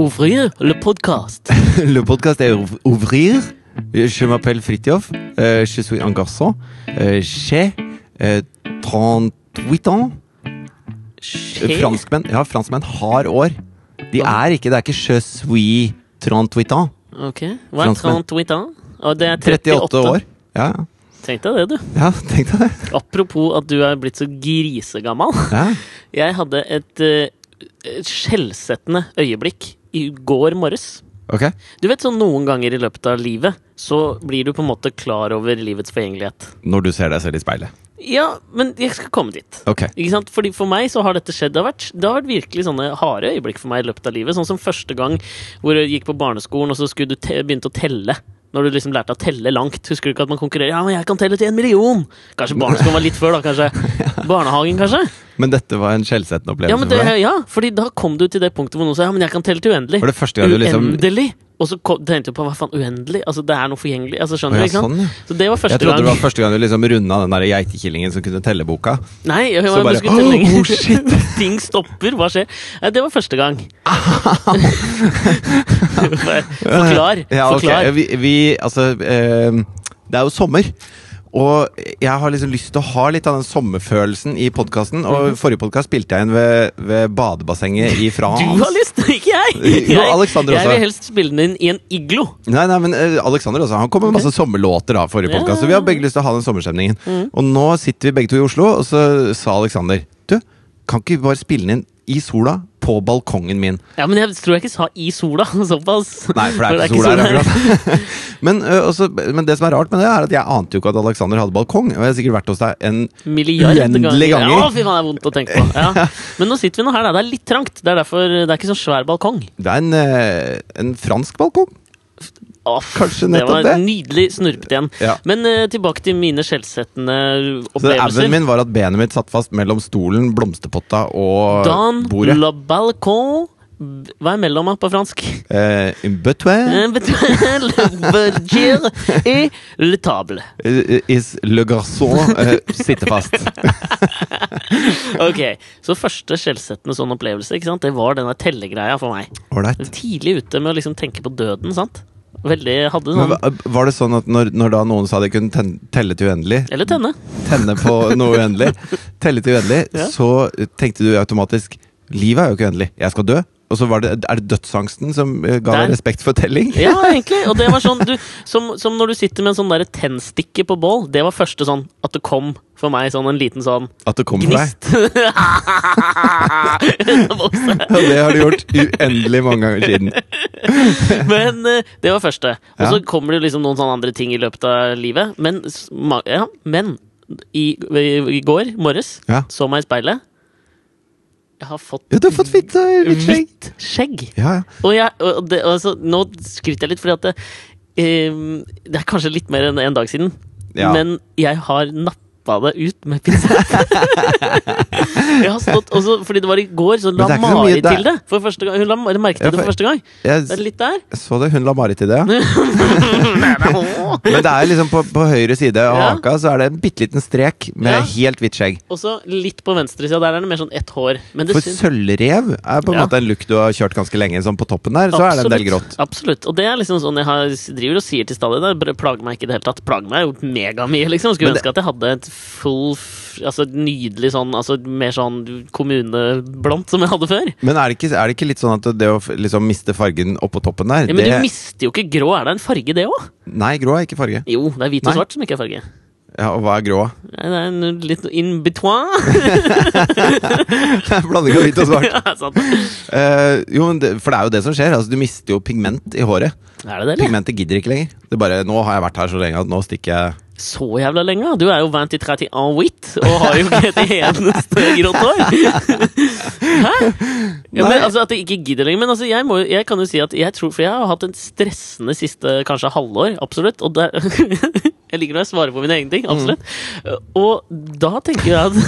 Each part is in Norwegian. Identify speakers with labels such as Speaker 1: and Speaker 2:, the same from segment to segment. Speaker 1: Ouvrir le podcast.
Speaker 2: Le podcast est ouv- Ouvrir. Eh, Je m'appelle Fritjof. Euh, je suis un garçon. Euh, J'ai euh, 38 ans. Eh,
Speaker 1: Skje.
Speaker 2: Franskmenn, ja, franskmenn har år. De er ikke Det er ikke je suis 38 ans.
Speaker 1: Ok. Hva er
Speaker 2: Franskmenn.
Speaker 1: 38 ans? Og det er 38,
Speaker 2: 38 år. Ja, ja.
Speaker 1: Tenk deg det, du.
Speaker 2: ja tenk deg det.
Speaker 1: Apropos at du er blitt så grisegammal.
Speaker 2: Ja.
Speaker 1: Jeg hadde et, eh, et skjellsettende øyeblikk i går morges.
Speaker 2: Ok.
Speaker 1: Du vet sånn noen ganger i løpet av livet, så blir du på en måte klar over livets forgjengelighet.
Speaker 2: Når du ser deg selv i speilet.
Speaker 1: Ja, men jeg skal komme dit.
Speaker 2: Ok.
Speaker 1: Ikke sant? Fordi For meg så har dette skjedd. Det har vært, det har vært virkelig sånne harde øyeblikk for meg i løpet av livet. Sånn som første gang hvor jeg gikk på barneskolen, og så skulle du te begynte å telle. Når du liksom lærte å telle langt. Husker du ikke at man konkurrerer? Ja, men jeg kan telle til en million! Kanskje barneskolen var litt før, da. kanskje Barnehagen, kanskje?
Speaker 2: Men dette var en skjellsettende opplevelse
Speaker 1: Ja, men det,
Speaker 2: for deg?
Speaker 1: ja, fordi da kom du til det punktet hvor noen sa ja, men jeg kan telle til uendelig.
Speaker 2: Var det første gang du liksom
Speaker 1: Uendelig! Og så kom, tenkte du på hva faen, uendelig? Altså, det er noe forgjengelig. Altså,
Speaker 2: Å,
Speaker 1: skjønner
Speaker 2: ja,
Speaker 1: du, ikke sant?
Speaker 2: sånn, ja.
Speaker 1: Så det var
Speaker 2: Jeg
Speaker 1: første
Speaker 2: trodde
Speaker 1: gang.
Speaker 2: det var første gang du liksom runda den der geitekillingen som kunne telle boka.
Speaker 1: Nei, jeg,
Speaker 2: Så
Speaker 1: jeg,
Speaker 2: bare,
Speaker 1: jeg skulle telle
Speaker 2: «Åh,
Speaker 1: lenger.
Speaker 2: oh, shit!»
Speaker 1: Ting stopper, hva skjer? Nei, det var første gang. Forklar.
Speaker 2: Eh, Ja, ok.
Speaker 1: Forklar.
Speaker 2: Vi, vi Altså, eh, det er jo sommer. Og jeg har liksom lyst til å ha litt av den sommerfølelsen i podkasten. Og
Speaker 1: Mhm.
Speaker 2: forrige podkast spilte jeg inn ved, ved badebassenget
Speaker 1: Du
Speaker 2: i France.
Speaker 1: har lyst, ikke jeg!
Speaker 2: Jo, Alexander
Speaker 1: jeg
Speaker 2: også.
Speaker 1: vil helst spille den inn i en iglo.
Speaker 2: Nei, nei, men eh, Alexander også, han kom med masse sommerlåter da forrige
Speaker 1: Ja, Mhm.
Speaker 2: podcast, så vi har begge lyst til å ha den sommerstemningen. Og nå sitter vi begge to i Oslo, og så sa Alexander Du, kan ikke vi bare spille den inn i sola på balkongen min?
Speaker 1: Ja, Men jeg tror jeg ikke sa i sola, såpass.
Speaker 2: Nei, for det er ikke sol her akkurat. men, eh, også, men det som er rart med det, er at jeg ante jo ikke at Alexander hadde balkong. Og jeg har sikkert vært hos deg en
Speaker 1: Milliard
Speaker 2: Uendelig ganger.
Speaker 1: Ja, fy faen, det er vondt å tenke på. Ja. Men nå sitter vi nå her, da. Det er litt trangt. Det er derfor det er ikke så svær balkong.
Speaker 2: Det er en, eh, en fransk balkong.
Speaker 1: Åh,
Speaker 2: Kanskje
Speaker 1: det
Speaker 2: nettopp
Speaker 1: var
Speaker 2: det.
Speaker 1: nydelig snurpet igjen.
Speaker 2: Ja.
Speaker 1: Men eh, tilbake til mine skjellsettende
Speaker 2: Så
Speaker 1: opplevelser.
Speaker 2: auen min var at benet mitt satt fast mellom stolen, blomsterpotta og
Speaker 1: Dan
Speaker 2: bordet.
Speaker 1: la balcon Hva er mellom på fransk?
Speaker 2: Eh, un boutoir
Speaker 1: le verger et le table.
Speaker 2: eh, is le garçon eh, sitter fast.
Speaker 1: Ok, Så første skjellsettende sånn opplevelse ikke sant? Det var denne tellegreia for meg.
Speaker 2: Ålreit.
Speaker 1: Tidlig ute med å liksom tenke på døden. sant? Veldig hadde sånn
Speaker 2: Men hva- Var det sånn at når, når da noen sa de kunne ten, telle til uendelig,
Speaker 1: Eller tenne.
Speaker 2: tenne på noe uendelig, telle til uendelig,
Speaker 1: Ja.
Speaker 2: så tenkte du automatisk Livet er jo ikke uendelig, jeg skal dø. Og så var det, er det dødsangsten som eh, ga
Speaker 1: Der.
Speaker 2: deg respekt for telling?
Speaker 1: Ja, egentlig. Og det var sånn du, som, som når du sitter med en sånn der tennstikke på bål. Det var første sånn at det kom for meg sånn en liten sånn
Speaker 2: At det kommer fra deg?
Speaker 1: gnist. Vokse.
Speaker 2: Ja, det har du gjort uendelig mange ganger siden.
Speaker 1: Men eh, det var første. Og så
Speaker 2: Ja.
Speaker 1: kommer det liksom noen sånne andre ting i løpet av livet. Men, s- ma- ja, men i, i, i går morges
Speaker 2: Ja.
Speaker 1: så meg i speilet. Jeg har fått
Speaker 2: Ja, du har fått hvitt eh, hvitt skjegg.
Speaker 1: hvitt skjegg.
Speaker 2: Ja, ja.
Speaker 1: Og, jeg, og det, altså, nå skryter jeg litt, fordi at det, eh, det er kanskje litt mer enn en dag siden.
Speaker 2: Ja.
Speaker 1: Men jeg har nappa det ut med pinsett. jeg har stått også, fordi det var i går, så la
Speaker 2: det er ikke så
Speaker 1: Mari
Speaker 2: mye- det er-
Speaker 1: til det. For første gang, hun la, eller merket
Speaker 2: Ja,
Speaker 1: det
Speaker 2: for-
Speaker 1: for første gang. Det er
Speaker 2: Jeg
Speaker 1: litt der.
Speaker 2: s- så det, hun la Marit i det, ja. Men det er liksom på, på høyre side av
Speaker 1: Ja.
Speaker 2: haka så er det en bitte liten strek med
Speaker 1: Ja.
Speaker 2: helt hvitt skjegg.
Speaker 1: Og så litt på venstresida. Der er det mer sånn ett hår. Men det
Speaker 2: For
Speaker 1: syns-
Speaker 2: sølvrev er på en
Speaker 1: Ja.
Speaker 2: måte en look du har kjørt ganske lenge. Sånn på toppen der, så er det en del grått.
Speaker 1: Absolutt. Og det er liksom sånn jeg har, driver og sier til stadig. Det br- plager meg ikke i det hele tatt. Plager meg jo megamye, liksom. Skulle
Speaker 2: Men det-
Speaker 1: ønske at jeg hadde et full f- Altså et nydelig sånn Altså mer sånn kommuneblondt som jeg hadde før.
Speaker 2: Men er det, ikke, er det ikke litt sånn at det å f- liksom miste fargen oppå toppen der
Speaker 1: Ja, men du
Speaker 2: det,
Speaker 1: mister jo ikke grå. Er det en farge, det òg?
Speaker 2: Nei, grå er ikke farge.
Speaker 1: Jo, det er hvit og
Speaker 2: Nei.
Speaker 1: svart som ikke er farge.
Speaker 2: Ja, Og hva er grå?
Speaker 1: Nei, det er en litt in between.
Speaker 2: Blanding av hvitt og svart.
Speaker 1: ja, sant. Er
Speaker 2: Eh, jo, men det, For det er jo det som skjer. Altså, du mister jo pigment i håret.
Speaker 1: det det, eller?
Speaker 2: Pigmentet gidder ikke lenger. Det er bare, Nå har jeg vært her så lenge at nå stikker jeg
Speaker 1: Så jævla lenge? da. Du er jo vant til 31 hvitt og har jo ikke et eneste grått hår! Hæ? Ja, men,
Speaker 2: Nei.
Speaker 1: altså At jeg ikke gidder lenger. Men altså, jeg, må, jo- jeg kan jo si at jeg tror For jeg har hatt en stressende siste kanskje halvår, absolutt. Og der, jeg liker når jeg svarer på mine egne ting, absolutt. Og da tenker jeg at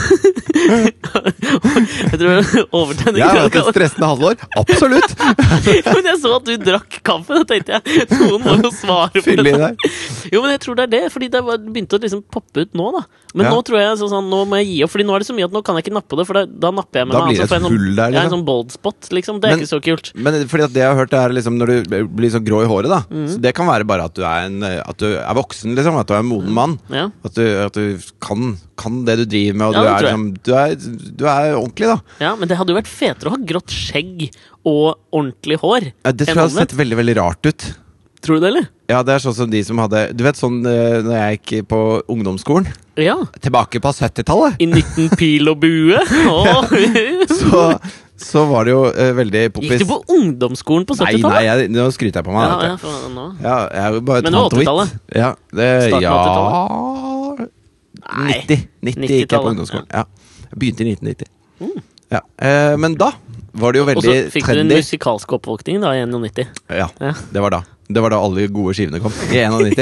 Speaker 1: Jeg tror jeg overtenner
Speaker 2: Jeg har hatt et stressende halvår. Absolutt!
Speaker 1: Men jeg så at du drakk kaffe, da tenkte jeg noen må jo svare på
Speaker 2: Fyll i
Speaker 1: det.
Speaker 2: der.
Speaker 1: Jo, men jeg tror det er det, fordi det var- begynte å liksom poppe ut nå, da. Men
Speaker 2: Ja.
Speaker 1: nå tror jeg så sånn, nå må jeg gi opp, Fordi nå er det så mye at nå kan jeg ikke nappe det. For da, da napper jeg meg
Speaker 2: Da
Speaker 1: noe
Speaker 2: blir
Speaker 1: annet,
Speaker 2: det
Speaker 1: så får jeg
Speaker 2: et
Speaker 1: en sånn-
Speaker 2: hull der,
Speaker 1: Ja, en
Speaker 2: liksom.
Speaker 1: sånn bold spot, liksom. Det er
Speaker 2: Men-
Speaker 1: ikke så kult.
Speaker 2: Men fordi at det jeg har hørt, er liksom når du blir så grå i håret, da.
Speaker 1: Mm.
Speaker 2: Så det kan være bare at du er, en, eh, at du er voksen, liksom. At du er en
Speaker 1: Mm.
Speaker 2: moden mann.
Speaker 1: Ja.
Speaker 2: At du, at du kan, kan det du driver med, og
Speaker 1: Ja,
Speaker 2: du,
Speaker 1: det
Speaker 2: er,
Speaker 1: tror jeg.
Speaker 2: liksom, du, er, du er ordentlig, da.
Speaker 1: ja, Men det hadde jo vært fetere å ha grått skjegg og ordentlig hår.
Speaker 2: Ja, Det
Speaker 1: enn
Speaker 2: tror jeg hadde
Speaker 1: omvendt.
Speaker 2: sett veldig veldig rart ut.
Speaker 1: Tror du det, eller?
Speaker 2: Ja, det er sånn som de som hadde Du vet sånn eh, når jeg gikk på ungdomsskolen,
Speaker 1: Ja.
Speaker 2: tilbake på 70-tallet,
Speaker 1: I 19 pil og bue. Åh.
Speaker 2: så, så var det jo eh, veldig poppis.
Speaker 1: Gikk du på ungdomsskolen på
Speaker 2: Nei, nei,
Speaker 1: 70-tallet?
Speaker 2: jeg, nå skryter jeg på meg.
Speaker 1: Ja,
Speaker 2: vet du.
Speaker 1: ja, faen, nå.
Speaker 2: Ja, jeg er jo bare
Speaker 1: Men det var
Speaker 2: tant og vitt.
Speaker 1: 80-tallet.
Speaker 2: Ja, det,
Speaker 1: Starten
Speaker 2: ja
Speaker 1: av
Speaker 2: 90. 90, gikk jeg
Speaker 1: 90-tallet,
Speaker 2: på ungdomsskolen. Ja. Jeg begynte i 1990. Ja. Eh, men da var det jo
Speaker 1: Mm. Og så
Speaker 2: veldig
Speaker 1: fikk du den
Speaker 2: trendy.
Speaker 1: musikalske oppvåkningen da i 91.
Speaker 2: Ja,
Speaker 1: Ja.
Speaker 2: det var da. Det var da alle de gode skivene kom. I 91.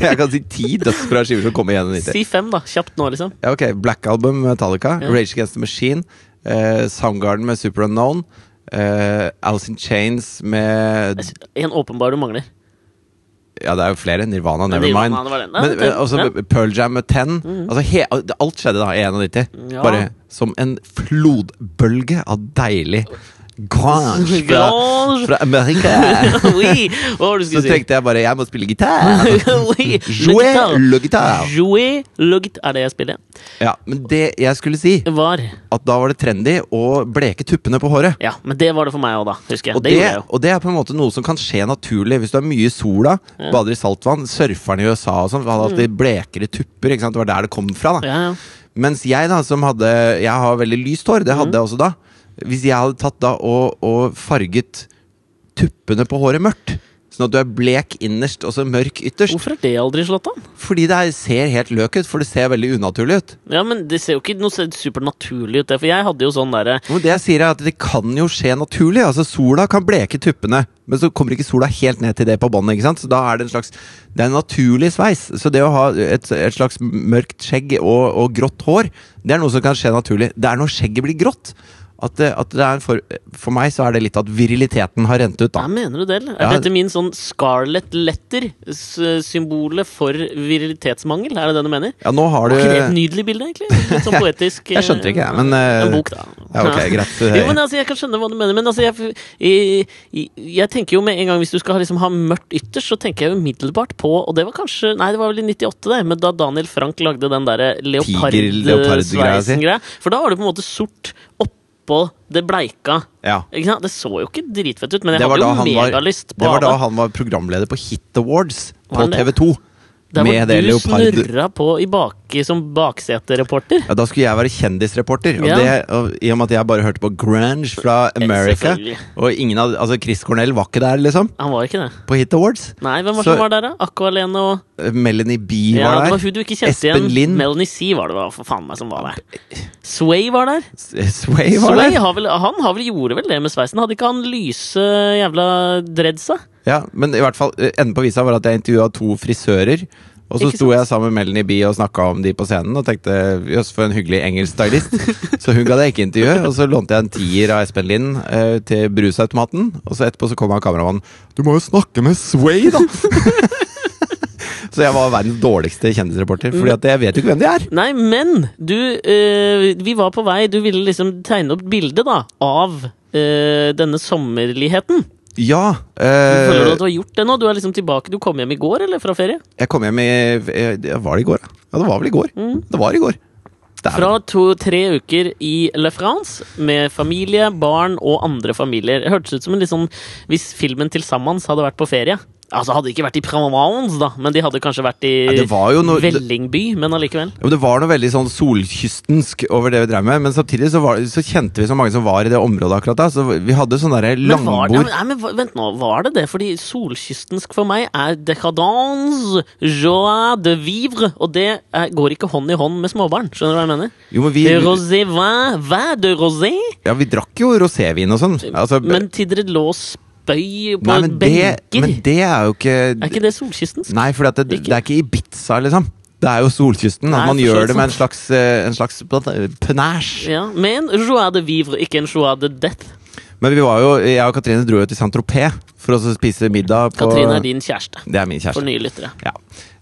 Speaker 2: jeg kan si ti dødsbra skiver som kom i 91.
Speaker 1: Si fem, da. Kjapt nå, liksom.
Speaker 2: Ja, ok, Black Album, Metallica,
Speaker 1: Ja.
Speaker 2: Rage Against the Machine, eh, Soundgarden med Super Unknown, eh, Alice in Chains med
Speaker 1: En åpenbar du mangler.
Speaker 2: Ja, det er jo flere. Nirvana,
Speaker 1: Men
Speaker 2: Nevermind.
Speaker 1: Nirvana, det var den. Nei,
Speaker 2: Men,
Speaker 1: det var
Speaker 2: eh, altså,
Speaker 1: den,
Speaker 2: Pearl Jam med Ten. Altså, he, alt skjedde da i 91.
Speaker 1: Mhm. Ja.
Speaker 2: Bare som en flodbølge av deilig grunge fra,
Speaker 1: Grange.
Speaker 2: fra Amerika.
Speaker 1: oui. Hva var det du
Speaker 2: Så
Speaker 1: skulle si?
Speaker 2: tenkte jeg bare jeg må spille gitar.
Speaker 1: oui.
Speaker 2: Jouer
Speaker 1: Lugitar.
Speaker 2: le guitar.
Speaker 1: Jouer lugt er det jeg spiller.
Speaker 2: Ja, men det jeg skulle si,
Speaker 1: Var.
Speaker 2: at da var det trendy å bleke tuppene på håret.
Speaker 1: Ja, men det var det for meg òg, da. Husker jeg.
Speaker 2: Og
Speaker 1: Det,
Speaker 2: det,
Speaker 1: gjorde jeg jo.
Speaker 2: og det er på en måte noe som kan skje naturlig hvis du er mye i sola, bader i saltvann. Surferne i USA og sånn hadde alltid blekere tupper. Ikke sant? Det var der det kom fra. da
Speaker 1: Mm. Ja, ja.
Speaker 2: Mens jeg da, som hadde Jeg har veldig lyst hår, det
Speaker 1: Mm.
Speaker 2: hadde jeg også da. Hvis jeg hadde tatt da og, og farget tuppene på håret mørkt, sånn at du er blek innerst og så mørk ytterst
Speaker 1: Hvorfor har det aldri slått an?
Speaker 2: Fordi det her ser helt løk ut, for det ser veldig unaturlig ut.
Speaker 1: Ja, men Det ser jo ikke noe supernaturlig ut, det. For jeg hadde jo sånn derre
Speaker 2: Men det jeg sier er at det kan jo skje naturlig. Altså Sola kan bleke tuppene, men så kommer ikke sola helt ned til det på båndet. ikke sant? Så da er det en slags Det er en naturlig sveis. Så det å ha et, et slags mørkt skjegg og, og grått hår, det er noe som kan skje naturlig. Det er når skjegget blir grått. At, det- at det er en for, for meg så er det litt at viriliteten har rent ut,
Speaker 1: Nei,
Speaker 2: da.
Speaker 1: mener du det, eller? Er
Speaker 2: Ja.
Speaker 1: dette min sånn Scarlet Letter-symbolet for virilitetsmangel? Er det det du mener?
Speaker 2: Ja, nå har
Speaker 1: Var
Speaker 2: du
Speaker 1: ikke det et nydelig bilde, egentlig? Litt sånn poetisk.
Speaker 2: Jeg skjønte ikke, jeg, men
Speaker 1: eh,
Speaker 2: eh,
Speaker 1: En bok, da.
Speaker 2: Ja, ok, greit.
Speaker 1: Jo, men altså, Jeg kan skjønne hva du mener, men altså, jeg, jeg, jeg tenker jo med en gang hvis du skal ha- liksom, ha mørkt ytterst, så tenker jeg jo umiddelbart på Og det var kanskje Nei, det var vel i 98, det, men da Daniel Frank lagde den derre
Speaker 2: leopardgreia si.
Speaker 1: leopard-sveisen-greia. For da var det på en måte sort oppå det bleika.
Speaker 2: ja.
Speaker 1: Ikke sant? Det så jo ikke dritfett ut, men jeg
Speaker 2: Det var
Speaker 1: hadde
Speaker 2: da
Speaker 1: jo
Speaker 2: han var,
Speaker 1: megalyst
Speaker 2: det
Speaker 1: på
Speaker 2: var da
Speaker 1: det.
Speaker 2: han var programleder på Hit Awards på
Speaker 1: han det?
Speaker 2: TV2.
Speaker 1: Der
Speaker 2: med
Speaker 1: hvor
Speaker 2: det
Speaker 1: du
Speaker 2: leopard-
Speaker 1: snurra på i baki som baksetereporter.
Speaker 2: Ja, Da skulle jeg være kjendisreporter. Og
Speaker 1: Ja.
Speaker 2: det, og, I og med at jeg bare hørte på Grunge fra America.
Speaker 1: selvfølgelig.
Speaker 2: Og ingen av, altså Chris Cornell var ikke der, liksom.
Speaker 1: Han var ikke det.
Speaker 2: På Hit Awards.
Speaker 1: Nei, hvem var
Speaker 2: Så-
Speaker 1: som var der, da? Aqua Lene og
Speaker 2: Melanie B
Speaker 1: Ja,
Speaker 2: var
Speaker 1: det
Speaker 2: der.
Speaker 1: var hun du ikke kjente
Speaker 2: Espen
Speaker 1: igjen.
Speaker 2: Lind.
Speaker 1: Melanie C var det, hva for faen meg som var der. Sway var der.
Speaker 2: S- Sway var
Speaker 1: Sway
Speaker 2: der.
Speaker 1: har vel, han har vel gjorde vel det med sveisen? Hadde ikke han lyse jævla dreadsa?
Speaker 2: Ja, men i hvert fall, eh, enden på visa var at jeg intervjua to frisører. Og så
Speaker 1: Ikke
Speaker 2: sto jeg sammen med Melanie B og snakka om de på scenen. Og tenkte jøss, for en hyggelig engelsk stylist. så hun gadd jeg ikke intervjue. Og så lånte jeg en tier av Espen Lind eh, til brusautomaten. Og så etterpå så kom han kameramannen. Du må jo snakke med Sway, da! så jeg var verdens dårligste kjendisreporter. Fordi at jeg vet jo ikke hvem de er.
Speaker 1: Nei, men du eh, Vi var på vei, du ville liksom tegne opp bildet, da, av eh, denne sommerligheten.
Speaker 2: Ja.
Speaker 1: Føler du at
Speaker 2: Eh,
Speaker 1: du har gjort det nå? Du er liksom tilbake, du kom hjem i går, eller? Fra ferie?
Speaker 2: jeg kom hjem i eh, det- Var det i går, da? Ja, det var vel i går. Det var i går. Dæven.
Speaker 1: Mm. Fra to, tre uker i Le France med familie, barn og andre familier. Det hørtes ut som en litt sånn Hvis filmen til Sammans hadde vært på ferie. Altså hadde ikke vært i Provence, da, men de hadde kanskje vært i
Speaker 2: Ja, det var jo noe-
Speaker 1: Vellingby, men allikevel.
Speaker 2: Jo, det var noe veldig sånn solkystensk over det vi drev med, men samtidig så, var, så kjente vi så mange som var i det området akkurat da, så vi hadde sånn derre
Speaker 1: Men var, nei,
Speaker 2: langbord.
Speaker 1: men, nei, men hva- vent nå, var det det? Fordi solkystensk for meg er decadence, joie de vivre, og det eh, går ikke hånd i hånd med småbarn. Skjønner du hva jeg mener?
Speaker 2: Jo, men vi,
Speaker 1: De rosé vin, vin de rosé,
Speaker 2: ja, vi drakk jo rosévin og sånn. Altså,
Speaker 1: men til dere lå og spøy på
Speaker 2: nei, men det,
Speaker 1: benker.
Speaker 2: men det er jo ikke,
Speaker 1: Er ikke det solkystens?
Speaker 2: Nei, for det,
Speaker 1: Ikke?
Speaker 2: det er ikke Ibiza, liksom. Det er jo solkysten.
Speaker 1: Nei,
Speaker 2: at man
Speaker 1: for så
Speaker 2: gjør
Speaker 1: vidt
Speaker 2: det med en slags, eh, en slags penæsj.
Speaker 1: Ja, med en joie de vivre, ikke en joie de death.
Speaker 2: Men vi var jo, jeg og Katrine dro jo til Saint-Tropez for å spise middag på
Speaker 1: Katrine er din kjæreste,
Speaker 2: Det er min
Speaker 1: for
Speaker 2: kjæreste.
Speaker 1: nye lyttere.
Speaker 2: Ja.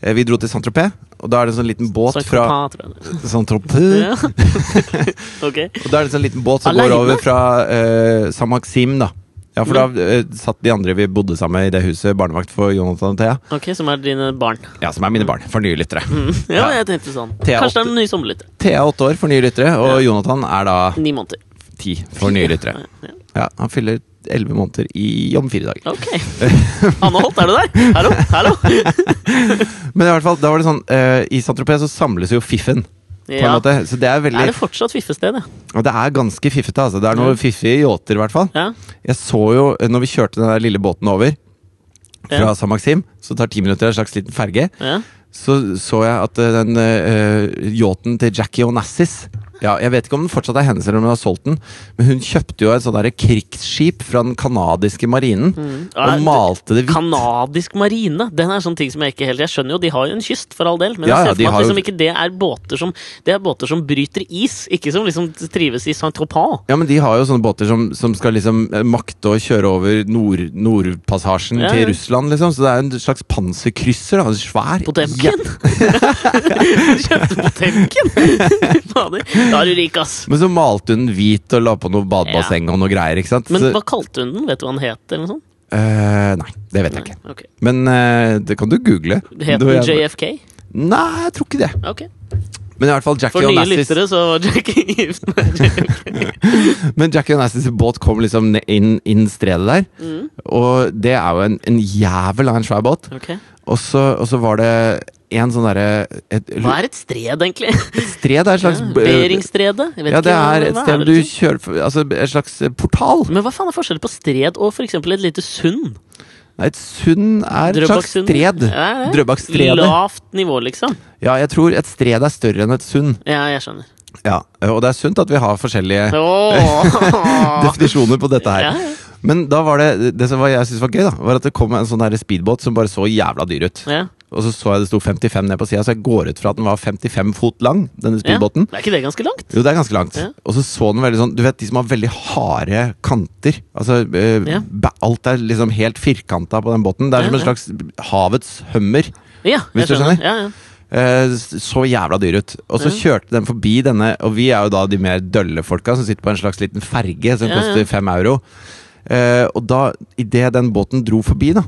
Speaker 2: Eh, Vi dro til Saint-Tropez, og da er det en sånn liten båt
Speaker 1: Saint
Speaker 2: fra
Speaker 1: Tropez, tror jeg det
Speaker 2: Saint-Tropez.
Speaker 1: er. Ja. ok.
Speaker 2: Og da er det en sånn liten båt som
Speaker 1: Alene?
Speaker 2: går over fra eh, San Maxim, da. Ja, for da
Speaker 1: Mm.
Speaker 2: eh, satt de andre vi bodde sammen med i det huset, barnevakt for Jonathan og Thea.
Speaker 1: ok, som er dine barn. Mm.
Speaker 2: Ja, som er mine barn, for nye lyttere.
Speaker 1: Ja,
Speaker 2: Ja.
Speaker 1: jeg tenkte sånn.
Speaker 2: Thea
Speaker 1: Kanskje det er en ny sommerlytter.
Speaker 2: Thea er åtte år for nye lyttere, og Jonathan er da
Speaker 1: Ni måneder.
Speaker 2: ti for nye lyttere.
Speaker 1: Ja.
Speaker 2: Ja, han fyller elleve måneder i om fire dager.
Speaker 1: Ok. Anne Holt, er du der? Hallo? Hallo?
Speaker 2: Men i hvert fall, da var det sånn eh, I Saint-Tropez så samles jo fiffen. På en
Speaker 1: Ja.
Speaker 2: måte. Så det er veldig
Speaker 1: Er det Mm. fortsatt fiffested, ja?
Speaker 2: Og det er ganske fiffete, altså. Det er noe fiffige yachter, i hvert fall.
Speaker 1: ja?
Speaker 2: Jeg så jo, eh, når vi kjørte den der lille båten over fra
Speaker 1: Ja.
Speaker 2: San Maxim, så tar ti minutter en slags liten ferge,
Speaker 1: ja.
Speaker 2: så så jeg at eh, den eh, yachten til Jackie Onassis ja, Jeg vet ikke om den fortsatt er hennes, eller om hun har solgt den, men hun kjøpte jo et sånt derre krigsskip fra den canadiske marinen
Speaker 1: Mm. Ja,
Speaker 2: og malte det hvitt.
Speaker 1: Kanadisk marine, den er sånn ting som jeg ikke helt Jeg skjønner jo, de har jo en kyst, for all del, men jeg
Speaker 2: Ja, ja,
Speaker 1: ser for
Speaker 2: de
Speaker 1: meg at
Speaker 2: har jo-
Speaker 1: liksom ikke det er båter som Det er båter som bryter is, ikke som liksom trives i Saint-Tropez.
Speaker 2: Ja, men de har jo sånne båter som, som skal liksom eh, makte å kjøre over nord, Nordpassasjen
Speaker 1: Ja, ja.
Speaker 2: til Russland, liksom. Så det er en slags panserkrysser. Da. En svær Ja.
Speaker 1: Potemkin! Kjøpte Potemkin! Fader, da er du rik, ass.
Speaker 2: Men så malte hun den hvit og la på noe badebasseng og noe greier, ikke sant?
Speaker 1: Men
Speaker 2: så,
Speaker 1: hva kalte hun den? Vet du hva den het? eller noe sånt?
Speaker 2: Eh, nei, det vet jeg ikke.
Speaker 1: Ok.
Speaker 2: Men eh, det kan du google.
Speaker 1: Het
Speaker 2: Du,
Speaker 1: den
Speaker 2: jeg-
Speaker 1: JFK?
Speaker 2: Nei, jeg tror ikke det.
Speaker 1: Ok.
Speaker 2: Men i hvert fall
Speaker 1: For
Speaker 2: Jackie
Speaker 1: nye
Speaker 2: Onassis
Speaker 1: lyttere så var Jackie gift med JFK.
Speaker 2: Men Jackie Onassis båt kom liksom ne- inn, inn stredet der.
Speaker 1: Mm.
Speaker 2: Og det er jo en, en jævel av en svær båt.
Speaker 1: Ok.
Speaker 2: Og så, og så var det en sånn derre et,
Speaker 1: Hva er et stred, egentlig?
Speaker 2: et Stred er et slags b-
Speaker 1: Beringstredet? Jeg vet
Speaker 2: Ja, det
Speaker 1: ikke,
Speaker 2: er
Speaker 1: hva-
Speaker 2: et
Speaker 1: hva
Speaker 2: sted
Speaker 1: det
Speaker 2: du
Speaker 1: liksom?
Speaker 2: kjører for- Altså et slags eh, portal.
Speaker 1: Men hva faen er forskjellen på stred og for eksempel et lite sund?
Speaker 2: Nei, Et sund er et slags
Speaker 1: Drøbaksund?
Speaker 2: stred.
Speaker 1: Ja, ja.
Speaker 2: Drøbakstredet.
Speaker 1: Lavt nivå, liksom.
Speaker 2: Ja, jeg tror et stred er større enn et sund.
Speaker 1: Ja, jeg skjønner.
Speaker 2: Ja, Og det er sunt at vi har forskjellige
Speaker 1: Åh.
Speaker 2: definisjoner på dette her.
Speaker 1: Ja, ja.
Speaker 2: Men da var det det som var, jeg syntes var gøy, da, var at det kom en sånn her speedbåt som bare så jævla dyr ut.
Speaker 1: ja.
Speaker 2: Og så så jeg det sto 55 ned på sida, så jeg går ut fra at den var 55 fot lang. denne
Speaker 1: ja.
Speaker 2: speedbåten.
Speaker 1: Er ikke det ganske langt?
Speaker 2: Jo, det er ganske langt.
Speaker 1: Ja.
Speaker 2: Og så så den veldig sånn Du vet de som har veldig harde kanter? Altså eh,
Speaker 1: Ja.
Speaker 2: ba- Alt er liksom helt firkanta på den båten. Det
Speaker 1: Ja,
Speaker 2: er som en
Speaker 1: ja.
Speaker 2: slags havets hummer.
Speaker 1: Ja,
Speaker 2: Hvis
Speaker 1: jeg
Speaker 2: du
Speaker 1: skjønner.
Speaker 2: skjønner?
Speaker 1: Ja, ja.
Speaker 2: Eh, s- så jævla dyr ut. Og så kjørte den forbi denne, og vi er jo da de mer dølle folka som sitter på en slags liten ferge som
Speaker 1: Ja, ja.
Speaker 2: koster fem euro. Eh, og da, idet den båten dro forbi, da,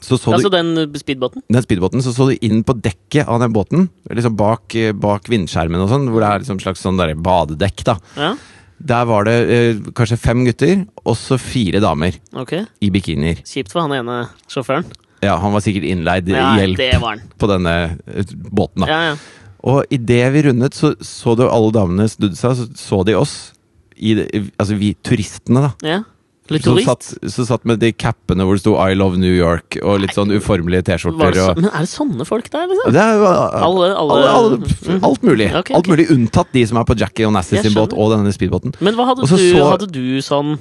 Speaker 2: så så
Speaker 1: Altså
Speaker 2: du
Speaker 1: den uh, speedbåten?
Speaker 2: den speedbåten, så så du inn på dekket av den båten. Liksom bak, eh, bak vindskjermen og sånn, hvor det er liksom slags sånn derre badedekk, da.
Speaker 1: Ja,
Speaker 2: Der var det eh, kanskje fem gutter, og så fire damer
Speaker 1: ok.
Speaker 2: i bikinier.
Speaker 1: Kjipt for han ene sjåføren.
Speaker 2: Ja, han var sikkert innleid
Speaker 1: Ja,
Speaker 2: hjelp
Speaker 1: det var han.
Speaker 2: på denne eh, båten, da.
Speaker 1: Ja, ja.
Speaker 2: Og idet vi rundet, så så du alle damene snudde seg, så så de oss. I det, altså vi turistene, da.
Speaker 1: ja. Litt
Speaker 2: Som
Speaker 1: turist.
Speaker 2: satt, som satt med de cappene hvor det sto 'I love New York' og litt sånn uformelige
Speaker 1: Var
Speaker 2: T-skjorter.
Speaker 1: det så,
Speaker 2: Og,
Speaker 1: men er det sånne folk der, liksom?
Speaker 2: det er jo alle,
Speaker 1: Alle, alle,
Speaker 2: alle, alt mulig.
Speaker 1: Ok, ok.
Speaker 2: Alt mulig unntatt de som er på Jackie og Nassie
Speaker 1: Jeg
Speaker 2: sin båt
Speaker 1: skjønner.
Speaker 2: og denne speedbåten.
Speaker 1: Men hva hadde
Speaker 2: Og så
Speaker 1: du,
Speaker 2: så-
Speaker 1: hadde du sånn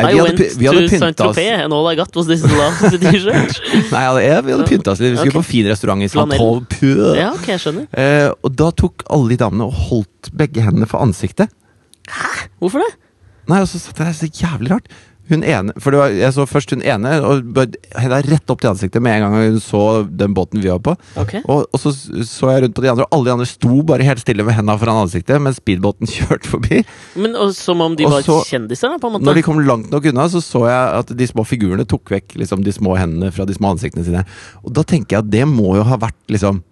Speaker 2: Nei,
Speaker 1: I
Speaker 2: vi hadde
Speaker 1: went
Speaker 2: py- vi hadde
Speaker 1: to
Speaker 2: pynta oss.
Speaker 1: Saint-Tropez and all I got was this last t-shirt.
Speaker 2: Nei, ja, det- vi hadde pynta oss litt. Vi skulle
Speaker 1: Ok.
Speaker 2: på fin restaurant i Saint
Speaker 1: Flanell.
Speaker 2: Paul. Puh.
Speaker 1: ja, ok, jeg skjønner.
Speaker 2: Eh, og da tok alle de damene og holdt begge hendene for ansiktet.
Speaker 1: Hvorfor det?
Speaker 2: Nei, og så satt jeg der så jævlig rart. Hun ene, for det var, Jeg så først hun ene, og henda rett opp til ansiktet med en gang hun så den båten vi var på.
Speaker 1: Ok.
Speaker 2: Og, og så så jeg rundt på de andre, og alle de andre sto bare helt stille med henda foran ansiktet mens speedbåten kjørte forbi.
Speaker 1: Men og, Som om de
Speaker 2: Og
Speaker 1: var
Speaker 2: så-
Speaker 1: kjendiser, da, på en måte?
Speaker 2: Når de kom langt nok unna, så så jeg at de små figurene tok vekk liksom, de små hendene fra de små ansiktene sine. Og da tenker jeg at det må jo ha vært liksom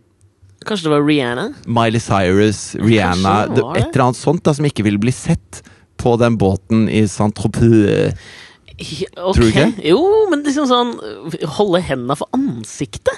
Speaker 1: Kanskje det var Rihanna?
Speaker 2: Miley Cyrus, Rihanna,
Speaker 1: Kanskje det
Speaker 2: det,
Speaker 1: var det.
Speaker 2: et eller annet sånt da, som ikke ville bli sett på den båten i Saint-Tropez.
Speaker 1: Ja, ok.
Speaker 2: Tror du ikke?
Speaker 1: Jo, men liksom sånn øh, Holde henda for ansiktet?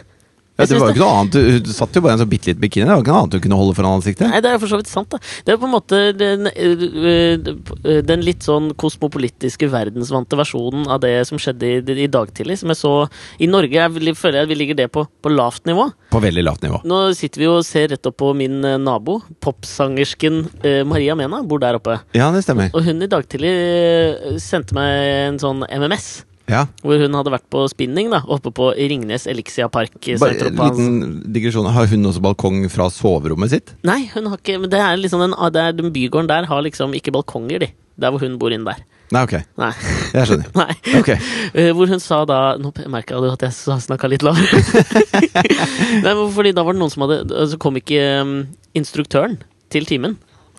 Speaker 2: Ja,
Speaker 1: Jeg
Speaker 2: det
Speaker 1: syns
Speaker 2: var jo
Speaker 1: det-
Speaker 2: ikke noe annet Du- Du satt jo bare i en sånn bitte liten bikini. Det var ikke noe annet du kunne holde foran ansiktet.
Speaker 1: Nei, det er jo for så vidt sant, da. Det er på en måte den, øh, øh, den litt sånn kosmopolitiske, verdensvante versjonen av det som skjedde i, i dag tidlig, som jeg så I Norge er, vi- føler jeg at vi ligger det på, på lavt nivå.
Speaker 2: På veldig lavt nivå.
Speaker 1: Nå sitter vi jo og ser rett opp på min eh, nabo, popsangersken eh, Maria Mena, bor der oppe.
Speaker 2: Ja, det stemmer.
Speaker 1: Og hun i dag tidlig eh, sendte meg en sånn MMS,
Speaker 2: Ja.
Speaker 1: hvor hun hadde vært på spinning, da, oppe på Ringnes Elixia Park. i
Speaker 2: Bare en
Speaker 1: Saint-Tropez.
Speaker 2: liten digresjon. Har hun også balkong fra soverommet sitt?
Speaker 1: Nei, hun har ikke men det er liksom den, ah, det er, den bygården der har liksom ikke balkonger, de. Der hvor hun bor inne der.
Speaker 2: Nei, ok.
Speaker 1: Nei.
Speaker 2: Jeg skjønner.
Speaker 1: Nei.
Speaker 2: Ok.
Speaker 1: Eh, Hvor hun sa da Nå merka du at jeg snakka litt lavere. Nei, men fordi da var det noen som hadde Så kom ikke um, instruktøren til timen.